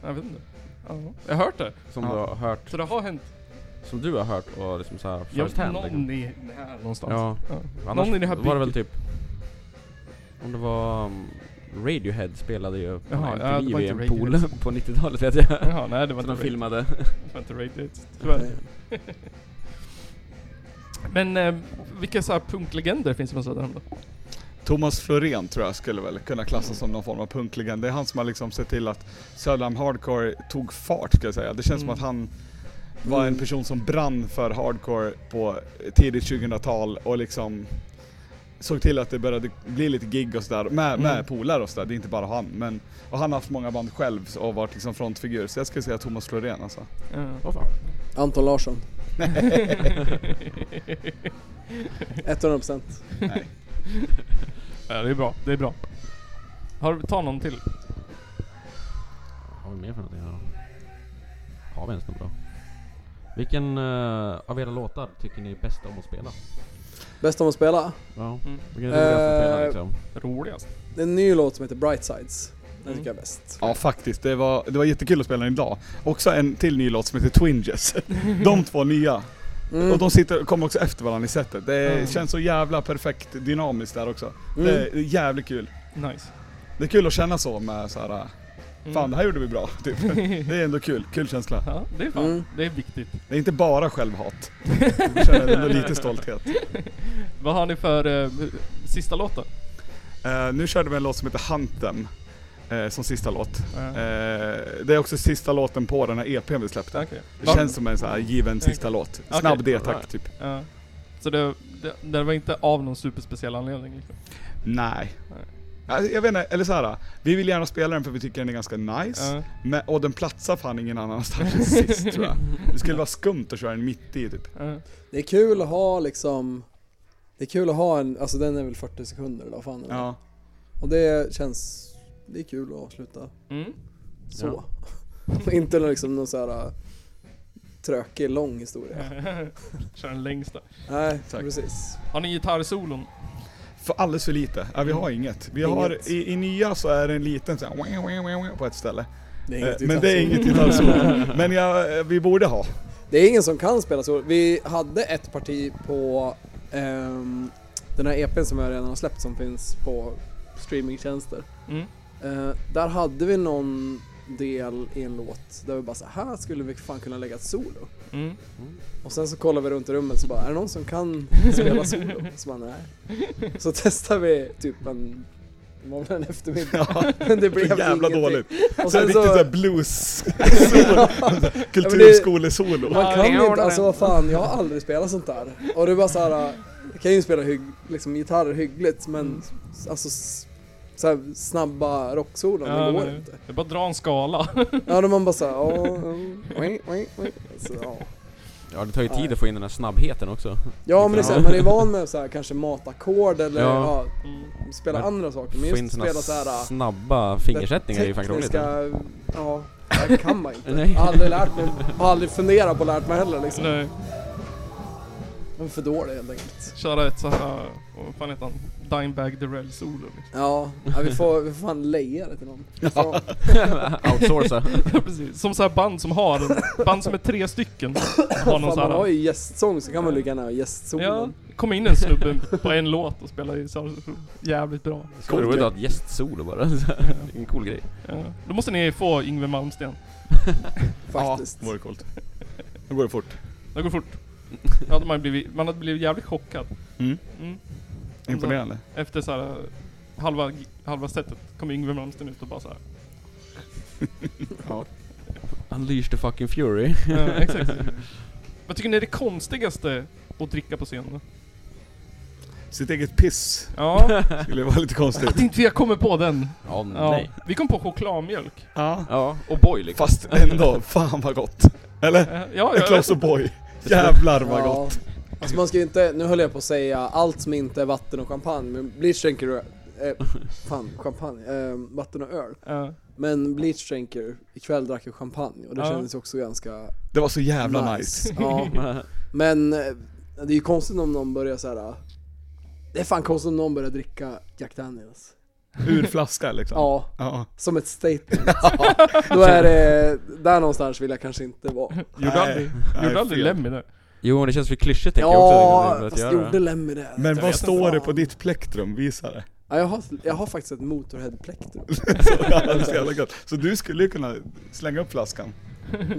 Speaker 2: Jag vet inte. Ja. Jag har hört det.
Speaker 3: [laughs] Som
Speaker 4: Ja.
Speaker 3: du har hört,
Speaker 2: Så det har hänt.
Speaker 3: som du har hört och liksom såhär
Speaker 2: Jag,
Speaker 3: first hand liksom.
Speaker 2: någon i, här någonstans.
Speaker 3: Ja,
Speaker 2: Ja.
Speaker 3: annars
Speaker 2: Någon i det här
Speaker 3: var det väl
Speaker 2: bygget.
Speaker 3: typ Om det var um, Radiohead spelade ju på
Speaker 2: Jaha,
Speaker 3: en
Speaker 2: ja, det var
Speaker 3: MTV i
Speaker 2: inte
Speaker 3: en pool [laughs]
Speaker 2: Radiohead.
Speaker 3: på 90-talet vet jag.
Speaker 2: Jaha, nej [laughs] det var
Speaker 3: Som de
Speaker 2: inte Ray.
Speaker 3: filmade.
Speaker 2: Det var inte Ray Dates, tyvärr. Men eh, vilka så här punklegender finns det på Söderhamn då?
Speaker 4: Thomas Florén tror jag skulle väl kunna klassas som någon form av punklegend. Det är han som har liksom sett till att Söderhamn Hardcore tog fart ska jag säga. Det känns
Speaker 2: Mm.
Speaker 4: som att han var en person som brann för hardcore på tidigt 2000-tal och liksom såg till att det började bli lite gig och sådär med,
Speaker 2: Mm.
Speaker 4: med polare och sådär. Det är inte bara han. Men, och han har haft många band själv och varit liksom frontfigur. Så jag skulle säga Thomas
Speaker 2: [laughs]
Speaker 4: Florén alltså.
Speaker 2: Ja.
Speaker 3: Vad fan?
Speaker 5: Anton Larsson. 100%.
Speaker 2: ja, det är bra, det är bra. Har du, ta någon till.
Speaker 3: Har vi mer för någonting här då? Har vi ens något bra? Vilken eh, av era låtar tycker ni är bäst om att spela?
Speaker 5: Bäst om att spela.
Speaker 3: Ja.
Speaker 2: Mm.
Speaker 3: Vilken är roligast att spela
Speaker 5: Eh,
Speaker 3: liksom?
Speaker 2: Roligast.
Speaker 5: Det är en ny låt som heter Bright Sides. Den
Speaker 2: Mm.
Speaker 5: tycker jag är bäst.
Speaker 4: Ja faktiskt, det var, det var jättekul att spela den idag. Också en till ny låt som
Speaker 2: [laughs]
Speaker 4: heter Twinges. De två nya.
Speaker 5: Mm.
Speaker 4: Och de sitter, kommer också efter varandra i setet. Det
Speaker 2: Mm.
Speaker 4: känns så jävla perfekt dynamiskt där också.
Speaker 5: Mm.
Speaker 4: Det är jävligt kul.
Speaker 2: Mm. Nice.
Speaker 4: Det är kul att känna så med så här.
Speaker 2: Mm.
Speaker 4: fan det här gjorde vi bra, [laughs] typ. Det är ändå kul, kul känsla.
Speaker 2: [laughs] Ja, det är fan.
Speaker 5: Mm.
Speaker 2: Det är viktigt.
Speaker 4: Det är inte
Speaker 2: [laughs]
Speaker 4: bara självhat. Jag känner ändå lite stolthet.
Speaker 2: Vad har ni för eh, sista låt då?
Speaker 4: Eh, nu körde vi en låt som heter Hunt Them, eh, som sista låt.
Speaker 2: Ja.
Speaker 4: Eh, det är också sista låten på den här EPn vi släppte.
Speaker 2: Okej.
Speaker 4: Det
Speaker 2: Var-
Speaker 4: känns som en så här given sista låt.
Speaker 2: Okej.
Speaker 4: Snabb D-takt typ.
Speaker 2: Ja. Så det, det, det var inte av någon superspeciell anledning liksom.
Speaker 4: Nej.
Speaker 2: Nej.
Speaker 4: Alltså, Jag vet inte, eller så här. Vi vill gärna spela den för vi tycker den är ganska nice.
Speaker 2: Ja.
Speaker 4: Men, och den platsar fan ingen annanstans [laughs] än sist tror jag. Det skulle vara skumt att köra den mitt i typ.
Speaker 2: Ja.
Speaker 5: Det är kul att ha liksom Det är kul att ha en, alltså den är väl 40 sekunder eller vad fan är det?
Speaker 4: Ja.
Speaker 5: Och det känns Det är kul att avsluta
Speaker 2: Mm.
Speaker 5: så Och [laughs] inte liksom någon så här äh, Trökig lång historia
Speaker 2: [laughs] Kör den längsta.
Speaker 5: Nej
Speaker 4: Tack.
Speaker 5: precis
Speaker 2: Har ni gitarrsolon?
Speaker 4: För alldeles för lite. Ja, vi har inget. Vi har,
Speaker 5: Mm. Inget.
Speaker 4: i, i nya så är det en liten så här, wah, wah, wah, wah, på ett ställe.
Speaker 5: det
Speaker 4: Eh,
Speaker 5: inget
Speaker 4: Men det är
Speaker 5: gitarrsolo.
Speaker 4: inget gitarrsolo.
Speaker 5: [laughs]
Speaker 4: Men jag, eh, vi borde ha.
Speaker 5: Det är ingen som kan spela så Vi hade ett parti på ehm, Den här EPn som jag redan har släppt som finns på streamingtjänster
Speaker 2: Mm.
Speaker 5: Eh, Där hade vi någon del i en låt där vi bara så här skulle vi fan kunna lägga ett solo
Speaker 2: Mm.
Speaker 5: Och sen så kollar vi runt i rummet så bara, är det någon som kan spela solo? Så bara, nej. Så testar vi typ en var väl en eftermiddag.
Speaker 4: Ja,
Speaker 5: Men det
Speaker 4: så
Speaker 5: blev
Speaker 4: jävla
Speaker 5: ingenting.
Speaker 4: dåligt.
Speaker 5: Och
Speaker 4: Så
Speaker 5: sen
Speaker 4: här riktigt
Speaker 5: så, [laughs]
Speaker 4: såhär blues, kulturskolesolo.
Speaker 5: man kan ju inte, alltså vad fan, jag har aldrig spelat sånt där. Och du bara såhär, jag kan ju spela hygg, liksom, gitarr hyggligt
Speaker 6: Mm.
Speaker 5: men alltså s- så här, snabba rocksolon, det går
Speaker 2: men-
Speaker 5: inte.
Speaker 2: Det är bara att dra en skala. [laughs]
Speaker 5: Ja, då man bara såhär, ja, ja, oj, oj, oj. Så, ja.
Speaker 6: Ja det tar ju tid
Speaker 5: Nej.
Speaker 6: att få in den här snabbheten också.
Speaker 5: Ja men det är såhär, man är van med såhär kanske matackord eller ja.
Speaker 6: Ja.
Speaker 2: Mm.
Speaker 5: spela
Speaker 6: Men
Speaker 5: andra saker. Men
Speaker 6: Få in
Speaker 5: just
Speaker 6: såna
Speaker 5: spela såhär
Speaker 6: snabba fingersättningar är ju fan krångligt.
Speaker 5: tekniska, ja, det kan man inte.
Speaker 6: Nej.
Speaker 5: Jag har aldrig lärt mig, har aldrig funderat på och lärt mig heller liksom.
Speaker 2: Nej,
Speaker 5: Jag är för dålig helt enkelt.
Speaker 2: köra ett så här, vad fan heter han? Dimebag Derell-solo liksom. [laughs]
Speaker 5: Ja, ja vi, får, vi får fan leja det till någon. Så, [laughs]
Speaker 6: Outsourca.
Speaker 2: Ja, precis. Som så här band som har, band som är tre stycken. Som har
Speaker 5: fan,
Speaker 2: någon
Speaker 5: man
Speaker 2: så här,
Speaker 5: har ju gästsång så kan man lika gärna ha
Speaker 2: ja,
Speaker 5: gästsången.
Speaker 2: kom in en snubbe på en låt och spela gitarr. Jävligt bra.
Speaker 6: Så roligt att ha ett gästsolo bara. [laughs] en cool grej.
Speaker 2: Ja. Då måste ni få Yngwie Malmsteen.
Speaker 5: Faktiskt.
Speaker 4: Ja, vore coolt. Nu går det fort.
Speaker 2: Det går fort. Då hade man, blivit, man hade blivit jävligt chockad.
Speaker 4: Mm.
Speaker 2: Mm.
Speaker 4: Imponerande.
Speaker 2: Efter så här, eh, halva, halva setet kom Yngwie Malmsteen ut och bara så här.
Speaker 6: Unleash the fucking fury.
Speaker 2: Ja, Eh, exakt. Vad tycker ni är det konstigaste att dricka på scenen?
Speaker 4: Sitt eget piss
Speaker 2: Ja,
Speaker 4: skulle vara lite konstigt.
Speaker 2: att inte vi har kommit på den.
Speaker 6: Ja,
Speaker 2: Ja.
Speaker 6: nej.
Speaker 2: Vi kom på chokladmjölk.
Speaker 4: Ja.
Speaker 6: Ja, och boy liksom.
Speaker 4: Fast ändå, fan vad gott. Eller?
Speaker 2: Eh, Ja,
Speaker 4: En
Speaker 2: ja,
Speaker 4: Klas O'boy. Jävlar vad
Speaker 5: Ja.
Speaker 4: gott.
Speaker 5: Alltså man ska ju inte, nu höll jag på att säga allt som inte är vatten och champagne, men bleach dränker du
Speaker 2: [laughs]
Speaker 5: eh, fan, champagne, eh, vatten och öl.
Speaker 2: ja.
Speaker 5: Men bleach dränker, ikväll drack jag champagne och det
Speaker 2: Ja.
Speaker 5: kändes också ganska
Speaker 4: Det var så jävla nice.
Speaker 5: Ja. Men eh, det är ju konstigt om någon börjar så här. eh, Det är fan konstigt om någon börjar dricka Jack Daniels.
Speaker 4: Ur flaska liksom.
Speaker 5: Ja,
Speaker 4: Ja.
Speaker 5: som ett statement.
Speaker 6: [laughs]
Speaker 5: Då är det, där någonstans vill jag kanske inte vara.
Speaker 2: Gjorde
Speaker 4: Nej,
Speaker 2: aldrig,
Speaker 4: nej,
Speaker 2: gjorde aldrig
Speaker 4: fel.
Speaker 2: Lemmy det?
Speaker 6: [laughs] Jo, det känns för klyschigt tänker jag också.
Speaker 5: Ja,
Speaker 6: liksom, för
Speaker 5: fast
Speaker 6: att göra.
Speaker 5: gjorde Lemmy det?
Speaker 4: Men
Speaker 5: Jag
Speaker 4: vad
Speaker 5: vet
Speaker 4: står
Speaker 5: inte.
Speaker 4: det på ditt plektrum? Visa det.
Speaker 5: Ja, jag, har, jag har faktiskt
Speaker 6: [laughs]
Speaker 5: ett Motorhead-plektrum.
Speaker 4: Så, ja, det är så, jävla gott. så du skulle ju kunna slänga upp flaskan.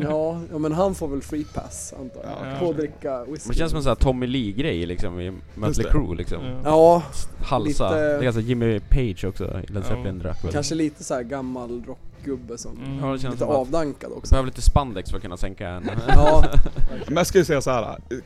Speaker 5: Ja, ja, men han får väl free pass antar jag.
Speaker 4: Ja,
Speaker 5: på
Speaker 2: kanske.
Speaker 5: att dricka whisky.
Speaker 6: Men det känns som en sån här Tommy Lee-grej liksom i Mötley
Speaker 4: det.
Speaker 6: Crüe liksom.
Speaker 2: Ja.
Speaker 5: Ja,
Speaker 6: Halsa.
Speaker 5: Lite-
Speaker 6: Det är alltså Jimmy Page också i Led
Speaker 2: Ja.
Speaker 6: Zeppelin drack väl.
Speaker 5: kanske lite så här gammal rockgubbe som
Speaker 2: Mm.
Speaker 6: Ja, det känns
Speaker 5: lite
Speaker 6: som att
Speaker 5: avdankad också.
Speaker 6: behöver lite spandex för att kunna sänka en.
Speaker 5: Ja,
Speaker 4: Men jag skulle säga så här. eh,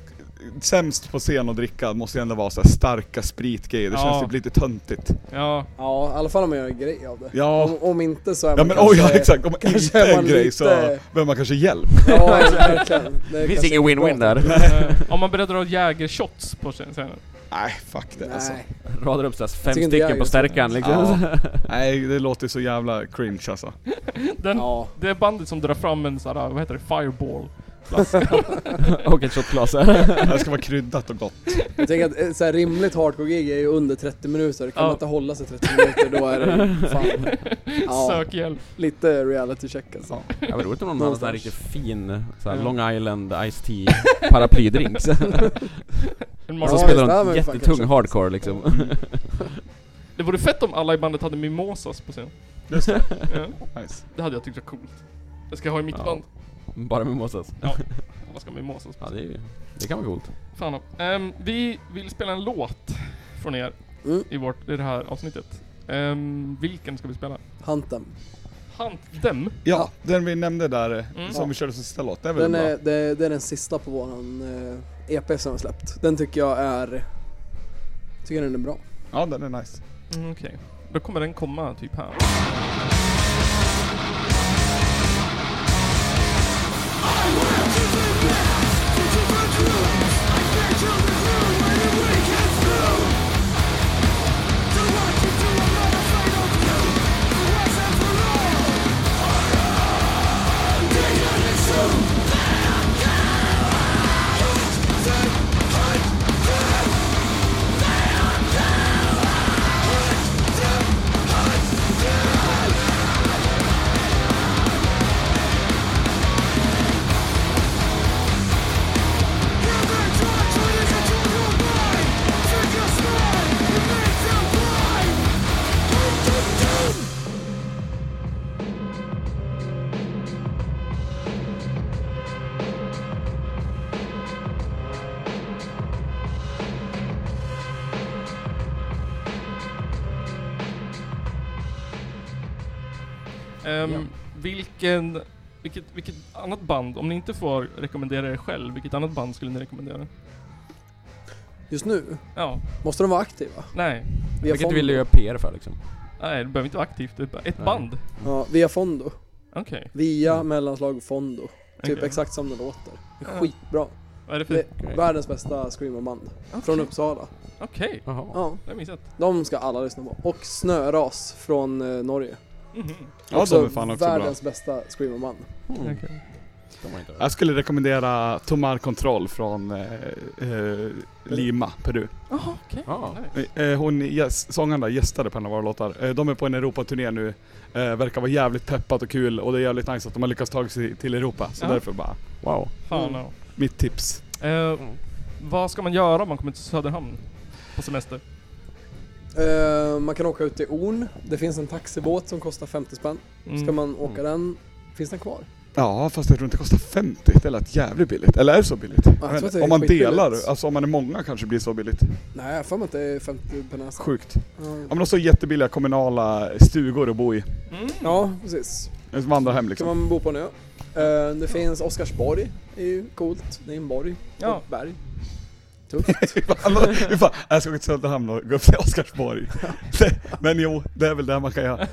Speaker 4: Sämst på scen att dricka måste ju ändå vara så här starka spritgrejer, det
Speaker 2: Ja.
Speaker 4: känns typ lite töntigt.
Speaker 2: Ja,
Speaker 5: ja, i alla fall om man gör en grej av det.
Speaker 4: Ja,
Speaker 5: Om, om inte så är
Speaker 4: ja
Speaker 5: man
Speaker 4: men
Speaker 5: kanske...
Speaker 4: oj ja, exakt, om
Speaker 5: kanske
Speaker 4: inte
Speaker 5: är
Speaker 4: är en
Speaker 5: man
Speaker 4: grej
Speaker 5: lite-
Speaker 4: så behöver man kanske hjälp.
Speaker 5: Ja, alltså, verkligen.
Speaker 6: Det finns ingen win-win där.
Speaker 2: eh, om man börjar dra jägershots på scenen.
Speaker 4: Nej, fuck det
Speaker 5: Nej.
Speaker 4: alltså.
Speaker 6: Radar upp såhär fem
Speaker 5: tycker inte jag
Speaker 6: stycken på
Speaker 5: just det.
Speaker 6: stärkan liksom.
Speaker 4: Ja. Nej, det låter så jävla cringe alltså.
Speaker 2: Den,
Speaker 5: Ja.
Speaker 2: Det är bandet som drar fram en sån här, vad heter det, fireball.
Speaker 6: [laughs] och ett shotglas. Ja,
Speaker 4: Det här ska vara kryddat och gott.
Speaker 5: Jag tänker att ett så här rimligt hardcore-gig är ju under 30 minuter. Kan
Speaker 2: Ja.
Speaker 5: man inte hålla sig 30 minuter då är det
Speaker 2: [laughs]
Speaker 5: ju fan ja,
Speaker 2: Sök hjälp.
Speaker 5: lite reality check alltså.
Speaker 4: Ja.
Speaker 6: men roligt om någon hade en sån här
Speaker 5: Någonstans.
Speaker 6: riktigt fin såhär
Speaker 2: Ja.
Speaker 6: Long Island Ice Tea paraplydrink. [laughs] Så
Speaker 2: En
Speaker 5: Ja,
Speaker 6: så
Speaker 2: massa
Speaker 5: just det,
Speaker 6: spelar
Speaker 5: men
Speaker 6: de
Speaker 5: fan,
Speaker 6: jättetung
Speaker 5: kanske.
Speaker 6: hardcore liksom.
Speaker 2: Det vore fett om alla i bandet hade mimosas på scen.
Speaker 4: Just det,
Speaker 2: Ja,
Speaker 4: nice.
Speaker 2: det hade jag tyckt var coolt. Jag ska ha i mitt
Speaker 6: Ja.
Speaker 2: band.
Speaker 6: [laughs] Bara mimosas.
Speaker 2: Alla ska ha mimosas
Speaker 6: Ja,
Speaker 2: på scen.
Speaker 6: det, är ju- det kan vara coolt.
Speaker 2: Fan um, Vi vill spela en låt från er
Speaker 5: Mm.
Speaker 2: i, vårt, i det här avsnittet. Ehm, vilken ska vi spela?
Speaker 5: Hunten.
Speaker 2: Hunt Them?
Speaker 4: Ja, den vi nämnde där eh,
Speaker 2: Mm.
Speaker 4: som vi körde som sista låt, det är väl
Speaker 5: Den
Speaker 4: bra?
Speaker 5: är, det, det är den sista på våran eh, EP som jag har släppt. Den tycker jag är... Tycker den är bra.
Speaker 4: Ja, den är nice.
Speaker 2: Mm, Okej. Då kommer den komma typ här.
Speaker 7: Take
Speaker 2: Ehm,
Speaker 3: Ja.
Speaker 2: vilken, vilket, vilket annat band, om ni inte får rekommendera er själv, vilket annat band skulle ni rekommendera?
Speaker 5: Just nu?
Speaker 2: Ja,
Speaker 5: Måste de vara aktiva?
Speaker 2: nej.
Speaker 6: Vilket du
Speaker 5: Fondo.
Speaker 6: vill göra PR för liksom.
Speaker 2: Nej, det behöver inte vara aktivt. Det är bara ett
Speaker 6: Nej.
Speaker 2: band.
Speaker 5: Ja, via Fondo.
Speaker 2: Okej.
Speaker 5: Via mellanslag Fondo. Typ
Speaker 2: Okej.
Speaker 5: exakt som det låter. Det är
Speaker 2: Ja.
Speaker 5: skitbra.
Speaker 2: Vad är det för...
Speaker 5: Det är världens bästa screamerband. Från Uppsala.
Speaker 2: Okej.
Speaker 6: Jaha.
Speaker 5: Ja,
Speaker 2: Det har jag missat.
Speaker 5: de ska alla lyssna på. Och Snöras från eh, Norge.
Speaker 2: Mhm.
Speaker 4: Ja de är fan också bra.
Speaker 5: världens bästa screamerband.
Speaker 6: Mm.
Speaker 2: Okej.
Speaker 6: De har inte
Speaker 4: Jag skulle rekommendera Tomar Control från eh, eh, Lima, Peru.
Speaker 2: Jaha, okej.
Speaker 6: Ja.
Speaker 2: Nice.
Speaker 4: Eh, hon, yes, sångaren där gästade på en av våra låtar. Eh, de är på en Europaturné nu, eh, verkar vara jävligt peppat och kul och det är jävligt nice att de har lyckats ta sig till Europa. Så
Speaker 2: Ja.
Speaker 4: därför bara,
Speaker 6: Wow.
Speaker 2: Fan
Speaker 5: Mm.
Speaker 2: ja.
Speaker 4: mitt tips.
Speaker 2: Eh, Vad ska man göra om man kommer till Söderhamn på semester?
Speaker 5: Eh, man kan åka ut till Orn. Det finns en taxibåt som kostar 50 spänn.
Speaker 2: Mm.
Speaker 5: Ska
Speaker 4: Mm.
Speaker 5: man åka den? Finns den kvar?
Speaker 4: Ja, fast jag tror inte det kostar 50. Det lät jävligt billigt. Eller är det så billigt?
Speaker 5: jag tror att det är
Speaker 4: om man
Speaker 5: skitbilligt.
Speaker 4: delar, alltså om man är många kanske det blir så billigt.
Speaker 5: Nej, jag har för mig att det är 50 per näsa.
Speaker 4: Sjukt.
Speaker 5: Ja.
Speaker 4: Ja men så jättebilliga kommunala stugor att bo i.
Speaker 2: Mm.
Speaker 5: Ja, precis.
Speaker 4: Vandra hem
Speaker 5: Kan
Speaker 4: liksom.
Speaker 5: man bo på en ö. Eh, det finns Oscarsborg, det är ju coolt. Det är en borg.
Speaker 2: Ja.
Speaker 5: Ja. Och berg. Tufft.
Speaker 4: Alla- [laughs] vi bara, jag ska gå till Söderhamn och gå upp till Oscarsborg. Men jo, det är väl det man kan göra.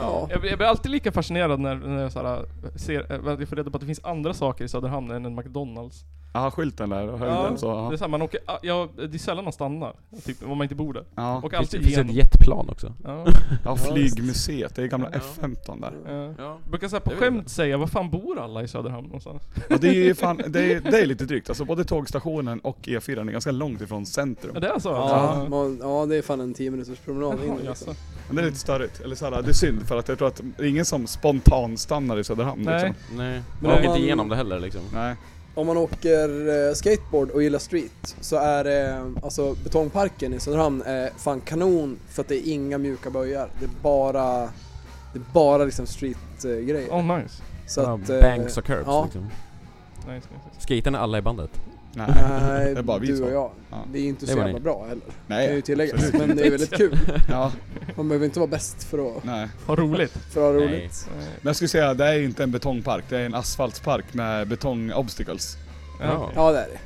Speaker 5: ja.
Speaker 2: Jag, blir- jag blir alltid lika fascinerad när, när jag, så här, ser, eh, jag får reda på att det finns andra saker i Söderhamn än en McDonalds.
Speaker 4: Ja, skylten där och höjden
Speaker 2: Ja,
Speaker 4: så.
Speaker 2: Det, är
Speaker 4: Ja.
Speaker 2: så här, man åker, ah, ja, det är sällan man stannar, typ, om man inte bor där.
Speaker 4: Ja.
Speaker 2: Och
Speaker 6: Finns,
Speaker 2: alltid
Speaker 6: finns ett
Speaker 2: igenom.
Speaker 6: jetplan också?
Speaker 2: Ja,
Speaker 4: ja, flygmuseet. Det är gamla
Speaker 6: Ja.
Speaker 4: F15 där.
Speaker 2: ja.
Speaker 6: Ja.
Speaker 2: Jag brukar så här på
Speaker 6: Jag vet
Speaker 2: skämt säga, var fan bor alla i Söderhamn någonstans?
Speaker 4: Ja, det är ju fan, det är, det är lite drygt. Alltså både tågstationen och E4 är ganska långt ifrån centrum.
Speaker 2: Ja, det är så?
Speaker 5: Ja, man, ja, det är fan en 10 minuters promenad in
Speaker 2: Jaha,
Speaker 5: liksom.
Speaker 2: jaså.
Speaker 4: Men det är lite störigt. Eller så här, det är synd för att jag tror att det är ingen som spontan stannar i Söderhamn
Speaker 2: Nej.
Speaker 4: liksom.
Speaker 6: Nej.
Speaker 5: Men
Speaker 6: Man
Speaker 5: om
Speaker 6: åker
Speaker 5: man-
Speaker 6: inte igenom det heller liksom.
Speaker 4: Nej.
Speaker 5: Om man åker eh, skateboard och gillar street så är det, alltså betongparken i Söderhamn är fan kanon för att det är inga mjuka böjar. Det är bara, det är bara liksom streetgrejer.
Speaker 2: Oh nice.
Speaker 5: så att...
Speaker 6: Ja,
Speaker 5: eh,
Speaker 6: banks och curbs
Speaker 5: ja.
Speaker 6: liksom.
Speaker 2: nice, nice, nice.
Speaker 6: Skaterna alla i
Speaker 5: [laughs]
Speaker 6: bandet.
Speaker 4: Nej.
Speaker 5: [laughs] Nej,
Speaker 4: Det är bara vi
Speaker 5: du
Speaker 4: som-
Speaker 5: och jag.
Speaker 4: Ja.
Speaker 5: Vi är inte
Speaker 6: Det
Speaker 5: så
Speaker 6: var
Speaker 5: jävla
Speaker 6: ni.
Speaker 5: bra heller. Det kan ju
Speaker 4: Nej.
Speaker 5: tilläggas.
Speaker 4: absolut
Speaker 5: Men det är
Speaker 4: [laughs]
Speaker 5: väldigt kul.
Speaker 4: Ja,
Speaker 5: Man behöver inte vara bäst för att,
Speaker 4: nej.
Speaker 2: Vad roligt.
Speaker 5: för att ha
Speaker 6: Nej.
Speaker 5: roligt.
Speaker 4: Men jag skulle säga, det är inte en betongpark. Det är en asfaltspark med betongobstacles.
Speaker 2: Ja, okej.
Speaker 5: Ja, det är det.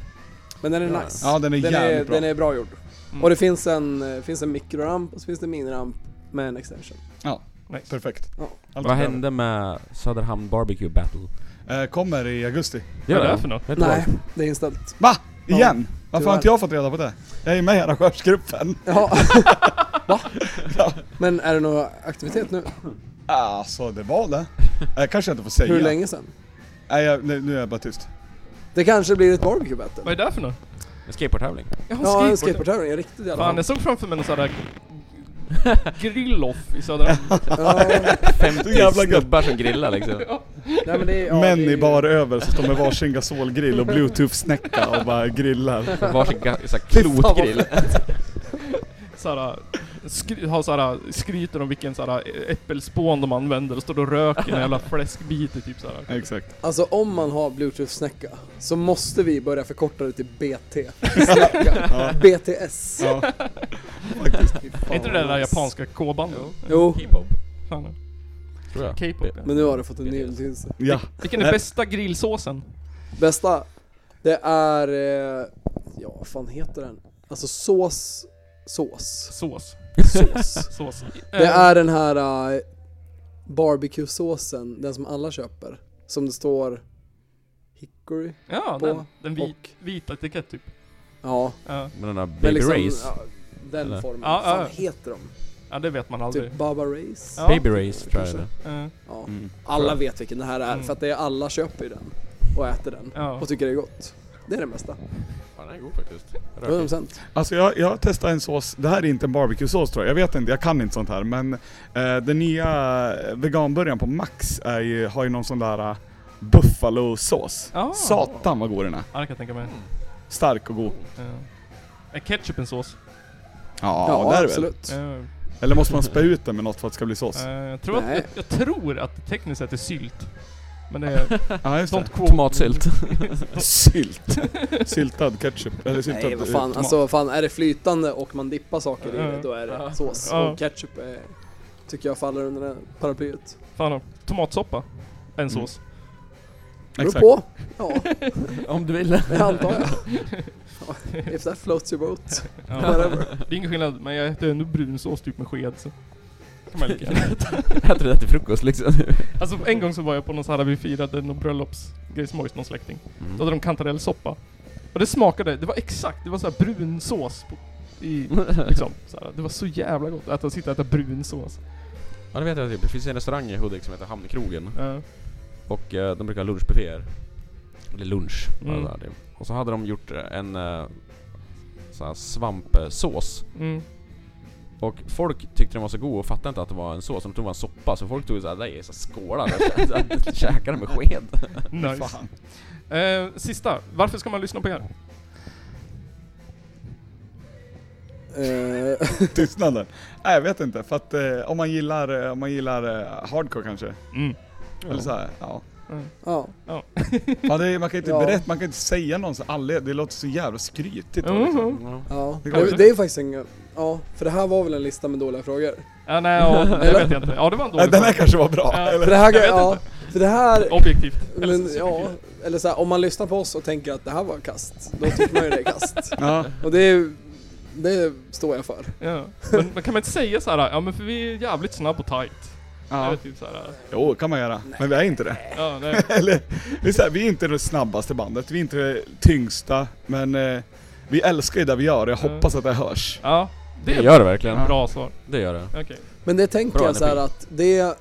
Speaker 5: Men den är
Speaker 6: Ja.
Speaker 5: nice.
Speaker 4: Ja, den är jävligt
Speaker 5: är,
Speaker 4: bra.
Speaker 5: den är bra gjord.
Speaker 2: Mm.
Speaker 5: Och det finns en, eh, finns en mikroramp och så finns det en miniramp med en extension.
Speaker 2: nice.
Speaker 4: Perfekt.
Speaker 5: Ja.
Speaker 4: Allt
Speaker 6: Vad
Speaker 4: bra.
Speaker 6: hände med Söderhamn Barbecue Battle?
Speaker 4: Eh, kommer i augusti.
Speaker 2: Vad är det för något?
Speaker 6: Vet du
Speaker 5: Nej,
Speaker 6: vad?
Speaker 5: det är inställt.
Speaker 4: Va?
Speaker 5: Ja,
Speaker 4: Igen? Varför har
Speaker 5: tyvärr.
Speaker 4: inte jag fått reda på det? Jag är ju med i arrangörsgruppen.
Speaker 5: Ja. Va? Men är det någon aktivitet nu?
Speaker 4: [laughs] Alltså det var det. Jag kanske inte får säga.
Speaker 5: Hur länge sen?
Speaker 4: Nej, jag, nu, nu är jag bara tyst.
Speaker 5: Det kanske blir ett barbecue battle?
Speaker 2: Vad är det för något?
Speaker 6: En
Speaker 2: [laughs]
Speaker 6: skateboardtävling?
Speaker 2: Jag har
Speaker 5: Ja, en
Speaker 2: skateboard.
Speaker 5: skateboardtävling. En riktigt jävla
Speaker 2: Fan, jag såg framför mig någon sån här grill-off i [laughs] Söderhamn.
Speaker 5: Ja,
Speaker 6: 50
Speaker 4: jävla gött.
Speaker 6: snubbar som grillar
Speaker 2: [laughs]
Speaker 6: liksom.
Speaker 5: nej, men det är, ja,
Speaker 4: Män
Speaker 5: det är
Speaker 4: i
Speaker 5: ju-
Speaker 4: bar över som står med varsin
Speaker 5: [laughs]
Speaker 4: gasolgrill och bluetooth-snäcka och bara grillar.
Speaker 6: På Typ Varsin ga- så här klotgrill.
Speaker 2: såhär, skry, har såhär, skryter om vilken såhär, äppelspån de använder och står och röker en [laughs] jävla fläskbit i typ såhär.
Speaker 4: Exakt.
Speaker 5: Alltså om man har bluetooth-snäcka så måste vi börja förkorta det till BT.
Speaker 4: [laughs]
Speaker 5: Snäcka. BTS.
Speaker 4: Ja.
Speaker 5: Fy
Speaker 2: Är
Speaker 5: fan,
Speaker 2: inte det det
Speaker 5: vad
Speaker 2: där
Speaker 5: nice.
Speaker 2: japanska K-bandet?
Speaker 5: Jo,
Speaker 6: Hiphop,
Speaker 2: Fan, ja.
Speaker 6: tror jag.
Speaker 2: K-pop ja.
Speaker 5: men nu har du fått en ny
Speaker 6: BTS.
Speaker 5: betydelse. [laughs]
Speaker 4: ja.
Speaker 2: Vilken är bästa grillsåsen?
Speaker 5: Bästa, det är, eh, ja vad fan heter den? Alltså sås,
Speaker 2: [laughs]
Speaker 5: sås,
Speaker 2: Sås.
Speaker 5: sås.
Speaker 2: Sås. Eh,
Speaker 5: Det är den här uh, barbecue-såsen, den som alla köper. Som det står Hickory.
Speaker 2: Ja,
Speaker 5: på
Speaker 2: den, den vit,
Speaker 5: och-
Speaker 2: vita etikett typ.
Speaker 5: Ja,
Speaker 2: Ja.
Speaker 6: Med den där
Speaker 5: men
Speaker 6: Baby
Speaker 5: liksom,
Speaker 6: Race.
Speaker 5: ja, den
Speaker 6: Eller?
Speaker 5: formen.
Speaker 2: Ja,
Speaker 5: Vad fan
Speaker 2: ja.
Speaker 5: heter de?
Speaker 2: ja, det vet man aldrig.
Speaker 5: Typ Baba Race?
Speaker 2: Ja.
Speaker 6: Baby Race tror jag det är.
Speaker 2: Ja.
Speaker 5: Ja.
Speaker 4: Mm.
Speaker 5: Alla vet vilken det här är,
Speaker 2: Mm.
Speaker 5: för att det är alla köper ju den. Och äter den.
Speaker 2: Ja.
Speaker 5: Och tycker det är gott. Det är den bästa.
Speaker 6: Ja, den är god faktiskt.
Speaker 5: 100%.
Speaker 4: Alltså jag, jag testade en sås, det här är inte en barbecue-sås tror jag, jag vet inte, jag kan inte sånt här men eh, den nya eh, veganburgaren på Max är ju, har ju någon sån där eh, buffalosås.
Speaker 2: Ah.
Speaker 4: Satan vad god den är.
Speaker 2: ja, det kan jag tänka mig.
Speaker 4: Stark och god.
Speaker 2: Ja. Är ketchup en sås?
Speaker 4: Ja, det är det väl.
Speaker 5: absolut.
Speaker 2: Ja.
Speaker 4: Eller måste man spä ut den med något för att det ska bli sås?
Speaker 2: Eh, jag, tror att,
Speaker 5: Nej.
Speaker 2: jag, jag tror att det tekniskt sett är sylt. Men det är
Speaker 4: Ja [laughs] just
Speaker 2: don't
Speaker 4: det.
Speaker 2: quote. [laughs]
Speaker 6: Tomatsylt.
Speaker 4: Sylt. Syltad ketchup. Eller syltad
Speaker 5: Nej vad
Speaker 4: eh,
Speaker 5: fan,
Speaker 4: tomat.
Speaker 5: alltså fan är det flytande och man dippar saker i
Speaker 2: Mm. Ja.
Speaker 5: det då är det sås. eh,
Speaker 2: Ja.
Speaker 5: Och ketchup är, tycker jag faller under det paraplyet.
Speaker 2: Fan då. Tomatsoppa. En
Speaker 4: Mm. [laughs]
Speaker 2: sås.
Speaker 5: Beror
Speaker 4: Exakt.
Speaker 5: på. Ja,
Speaker 7: Om du
Speaker 6: [laughs]
Speaker 7: vill.
Speaker 5: det antar jag. Ja, If that floats your boat.
Speaker 2: Ja.
Speaker 5: Whatever.
Speaker 2: Det är ingen skillnad, men jag äter ändå brunsås typ med sked så. Kan man lika gärna.
Speaker 4: [laughs]
Speaker 7: Äter det till frukost liksom.
Speaker 2: Alltså en gång så var jag på någon så här, vi firade någon bröllopsgrej som hos någon släkting.
Speaker 4: Mm.
Speaker 2: Då hade de kantarellsoppa. Och det smakade, det var exakt, det var så här brun sås på, i,
Speaker 4: Mm.
Speaker 2: liksom. Så här, det var så jävla gott att sitta och äta brun
Speaker 4: [laughs]
Speaker 2: sås.
Speaker 6: Ja det vet jag typ. Det finns en restaurang i Hudik som heter Hamnkrogen.
Speaker 2: Ja.
Speaker 6: Och eh, de brukar ha lunchbufféer. Eller lunch.
Speaker 2: Mm.
Speaker 6: Alltså, det. Och så hade de gjort eh, en eh, sån här svampsås.
Speaker 2: Mm.
Speaker 6: Och folk tyckte den var så god och fattade inte att det var en sås. De trodde det var en soppa. Så folk tog såhär, det är så skålar [laughs] och så här, käkade den med sked.
Speaker 2: Nice. Eh, sista, varför ska man lyssna på er?
Speaker 5: Eh,
Speaker 4: Tystnaden. Nej jag vet inte, för att eh, om man gillar, eh, om man gillar eh, hardcore kanske.
Speaker 2: Mm.
Speaker 4: Eller så här, ja.
Speaker 5: Ja,
Speaker 4: Man, det, man kan inte
Speaker 5: Ja.
Speaker 4: berätta, man kan inte säga någons anledning, det låter så jävla skrytigt. då, Liksom.
Speaker 2: Mhm.
Speaker 5: ja.
Speaker 4: Det
Speaker 5: Det,
Speaker 4: går
Speaker 5: är-
Speaker 4: inte.
Speaker 5: det är ju faktiskt en... Ja, för det här var väl en lista med
Speaker 2: [laughs]
Speaker 5: dåliga frågor?
Speaker 2: Ja, nej, ja, det vet jag inte. Ja, det var en
Speaker 4: Nej,
Speaker 2: dålig
Speaker 4: den
Speaker 2: fråga.
Speaker 4: här kanske var bra,
Speaker 2: Ja.
Speaker 4: eller?
Speaker 5: För det här,
Speaker 2: Jag vet
Speaker 5: ja, för det här
Speaker 2: Objektivt. Eller
Speaker 5: men,
Speaker 2: så
Speaker 5: ja,
Speaker 2: subjektivt.
Speaker 5: eller så här, om man lyssnar på oss och tänker att det här var kast, då tycker man ju det är kast.
Speaker 4: Ja.
Speaker 5: Och det, är- det står jag för.
Speaker 2: ja. Men, men kan man inte säga så här, ja men för vi är jävligt snabb och tight.
Speaker 4: ja.
Speaker 2: Eller typ så här,
Speaker 4: Jo, kan man göra. Men vi är inte det. [laughs]
Speaker 2: ja, nej.
Speaker 4: Eller, det är så här, vi är inte det snabbaste bandet, vi är inte det tyngsta, men eh, vi älskar ju det vi gör och jag
Speaker 2: Ja.
Speaker 4: hoppas att det hörs.
Speaker 2: Ja, det
Speaker 6: Det
Speaker 2: är
Speaker 6: gör det verkligen.
Speaker 2: ett bra svar.
Speaker 6: Det gör det.
Speaker 2: Okej.
Speaker 5: Men det tänker
Speaker 6: Bra
Speaker 5: jag så här
Speaker 6: energi.
Speaker 5: att det,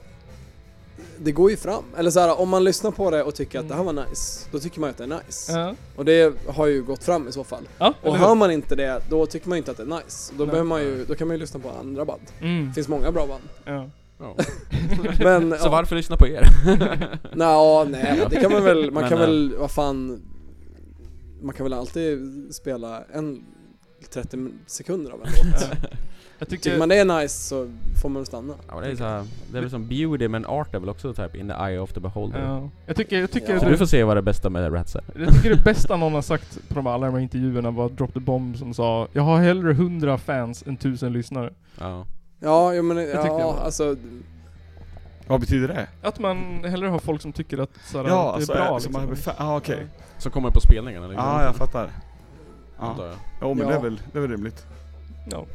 Speaker 5: det går ju fram. Eller så här, om man lyssnar på det och tycker att det här var nice, då tycker man ju att det är nice.
Speaker 2: Mm. Ja.
Speaker 5: Och det har ju gått fram i så fall.
Speaker 2: Ja,
Speaker 5: Och
Speaker 2: eller
Speaker 5: hör
Speaker 2: hur?
Speaker 5: man inte det, då tycker man ju inte att det är nice. Då,
Speaker 2: Nej.
Speaker 5: behöver man ju, då kan man ju lyssna på andra band.
Speaker 2: Mm.
Speaker 5: Det finns många
Speaker 2: [laughs]
Speaker 5: bra band.
Speaker 2: Ja.
Speaker 6: [laughs]
Speaker 5: Men,
Speaker 7: Så
Speaker 5: ja.
Speaker 7: varför lyssna på er?
Speaker 5: Nå, nej, det kan man väl, man
Speaker 7: Men,
Speaker 5: kan
Speaker 7: eh,
Speaker 5: väl, vad fan Man kan väl alltid spela en 30 sekunder av en låt.
Speaker 2: [laughs] Ja. Jag
Speaker 5: Tycker
Speaker 2: tycker...
Speaker 5: man det är nice så får man stanna.
Speaker 6: Ja, men det, är så här, det är väl som beauty men art är väl också typ in the eye of the beholder.
Speaker 2: ja. Jag tycker, jag tycker,
Speaker 5: Ja.
Speaker 6: Så
Speaker 2: det,
Speaker 6: du får se vad det bästa med Rats är.
Speaker 2: jag tycker det bästa någon har sagt på de här, alla de här intervjuerna var Drop the Bomb som sa Jag har hellre 100 fans än 1000 lyssnare.
Speaker 6: Ja.
Speaker 5: Ja, jo, men
Speaker 2: tyckte det
Speaker 5: ja,
Speaker 2: var-
Speaker 5: alltså
Speaker 4: Vad betyder det?
Speaker 2: Att man hellre har folk som tycker att såhär, det är
Speaker 4: Ja, alltså,
Speaker 2: bra
Speaker 4: eh, så
Speaker 2: liksom.
Speaker 4: man är fan, ah, okej.
Speaker 6: Som kommer på spelningarna
Speaker 4: Ja,
Speaker 6: liksom.
Speaker 4: jag fattar. Ja,
Speaker 6: Antar jag.
Speaker 4: jo,
Speaker 5: Ja.
Speaker 4: men det är väl, det är väl rimligt.
Speaker 2: Ja.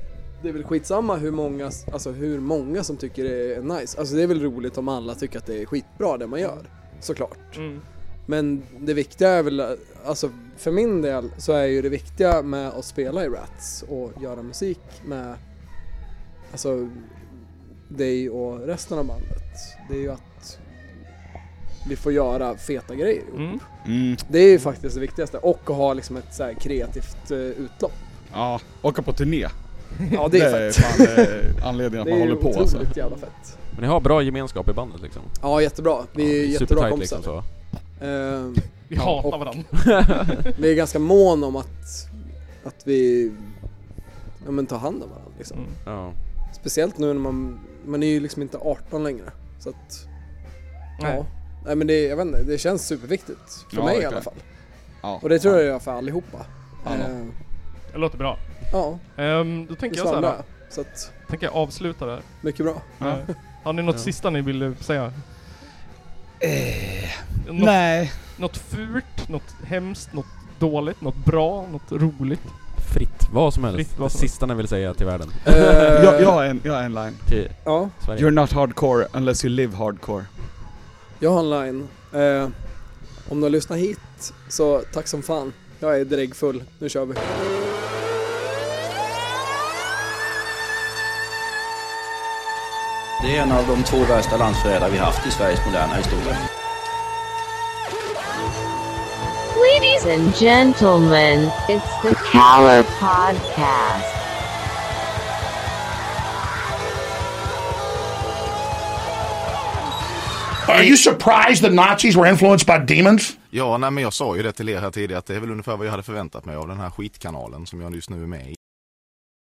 Speaker 5: det är väl skitsamma hur många, alltså hur många som tycker det är nice. Alltså det är väl roligt om alla tycker att det är skitbra det man gör. Såklart.
Speaker 2: Mm.
Speaker 5: Men det viktiga är väl, alltså för min del så är ju det viktiga med att spela i Rats och göra musik med, alltså dig och resten av bandet. Det är ju att vi får göra feta grejer.
Speaker 2: Mm.
Speaker 4: Mm.
Speaker 5: Det är ju faktiskt det viktigaste och att ha liksom ett så här kreativt eh, utlopp.
Speaker 4: Ja, åka på turné.
Speaker 5: Ja det är fett.
Speaker 4: fan eh,
Speaker 5: [laughs]
Speaker 4: anledningen
Speaker 5: Det
Speaker 4: att man
Speaker 5: är
Speaker 4: håller
Speaker 5: ju
Speaker 4: på alltså.
Speaker 5: otroligt jävla fett.
Speaker 6: Men ni har bra gemenskap i bandet liksom.
Speaker 5: Ja jättebra, vi är
Speaker 6: Ja,
Speaker 5: jättebra
Speaker 6: supertight,
Speaker 5: kompisar.
Speaker 6: liksom, så.
Speaker 5: Eh,
Speaker 2: Vi
Speaker 5: Ja,
Speaker 2: hatar
Speaker 5: och-
Speaker 2: varandra.
Speaker 5: vi är ganska mån om att, att vi ja, men, tar hand om varandra liksom.
Speaker 2: Mm.
Speaker 6: Ja.
Speaker 5: Speciellt nu när man, man är ju liksom inte 18 längre. Så att,
Speaker 2: Nej.
Speaker 5: ja. Nej men det, jag vet inte, det känns superviktigt. För
Speaker 4: Ja,
Speaker 5: mig i
Speaker 4: verkligen.
Speaker 5: alla fall.
Speaker 4: Ja.
Speaker 5: Och det tror jag det gör för allihopa.
Speaker 4: Ja.
Speaker 5: Eh,
Speaker 2: Det låter bra.
Speaker 5: ja,
Speaker 2: Ehm, då
Speaker 5: det
Speaker 2: tänker jag så här,
Speaker 5: svamlar
Speaker 2: då.
Speaker 5: jag. Så att,
Speaker 2: tänker jag avsluta där. [laughs]
Speaker 5: mycket bra.
Speaker 4: Ja.
Speaker 2: Eh, Har ni något
Speaker 6: Ja.
Speaker 2: sista ni vill eh, säga? Något,
Speaker 4: Eh, Nej.
Speaker 2: något fult, något hemskt, något dåligt, något bra, något roligt?
Speaker 6: Fritt, vad som helst.
Speaker 2: Fritt, vad
Speaker 6: det
Speaker 2: som
Speaker 6: sista ni vill säga till världen.
Speaker 5: Eh,
Speaker 4: Jag, jag, har en, jag har en line.
Speaker 6: Till
Speaker 5: ja,
Speaker 6: Sverige.
Speaker 4: You're not hardcore unless you live hardcore.
Speaker 5: jag har en line. Eh, om du har lyssnat hit, så tack som fan. Jag är dräggfull, nu kör vi.
Speaker 1: Det är en av de två värsta landsförrädare vi haft i Sveriges moderna historia.
Speaker 8: Ladies and gentlemen, it's the Cower Podcast.
Speaker 9: Are you surprised the Nazis were influenced by demons?
Speaker 10: Ja, nej, men jag sa ju det till er här tidigare att det är väl ungefär vad jag hade förväntat mig av den här skitkanalen som jag just nu är med i.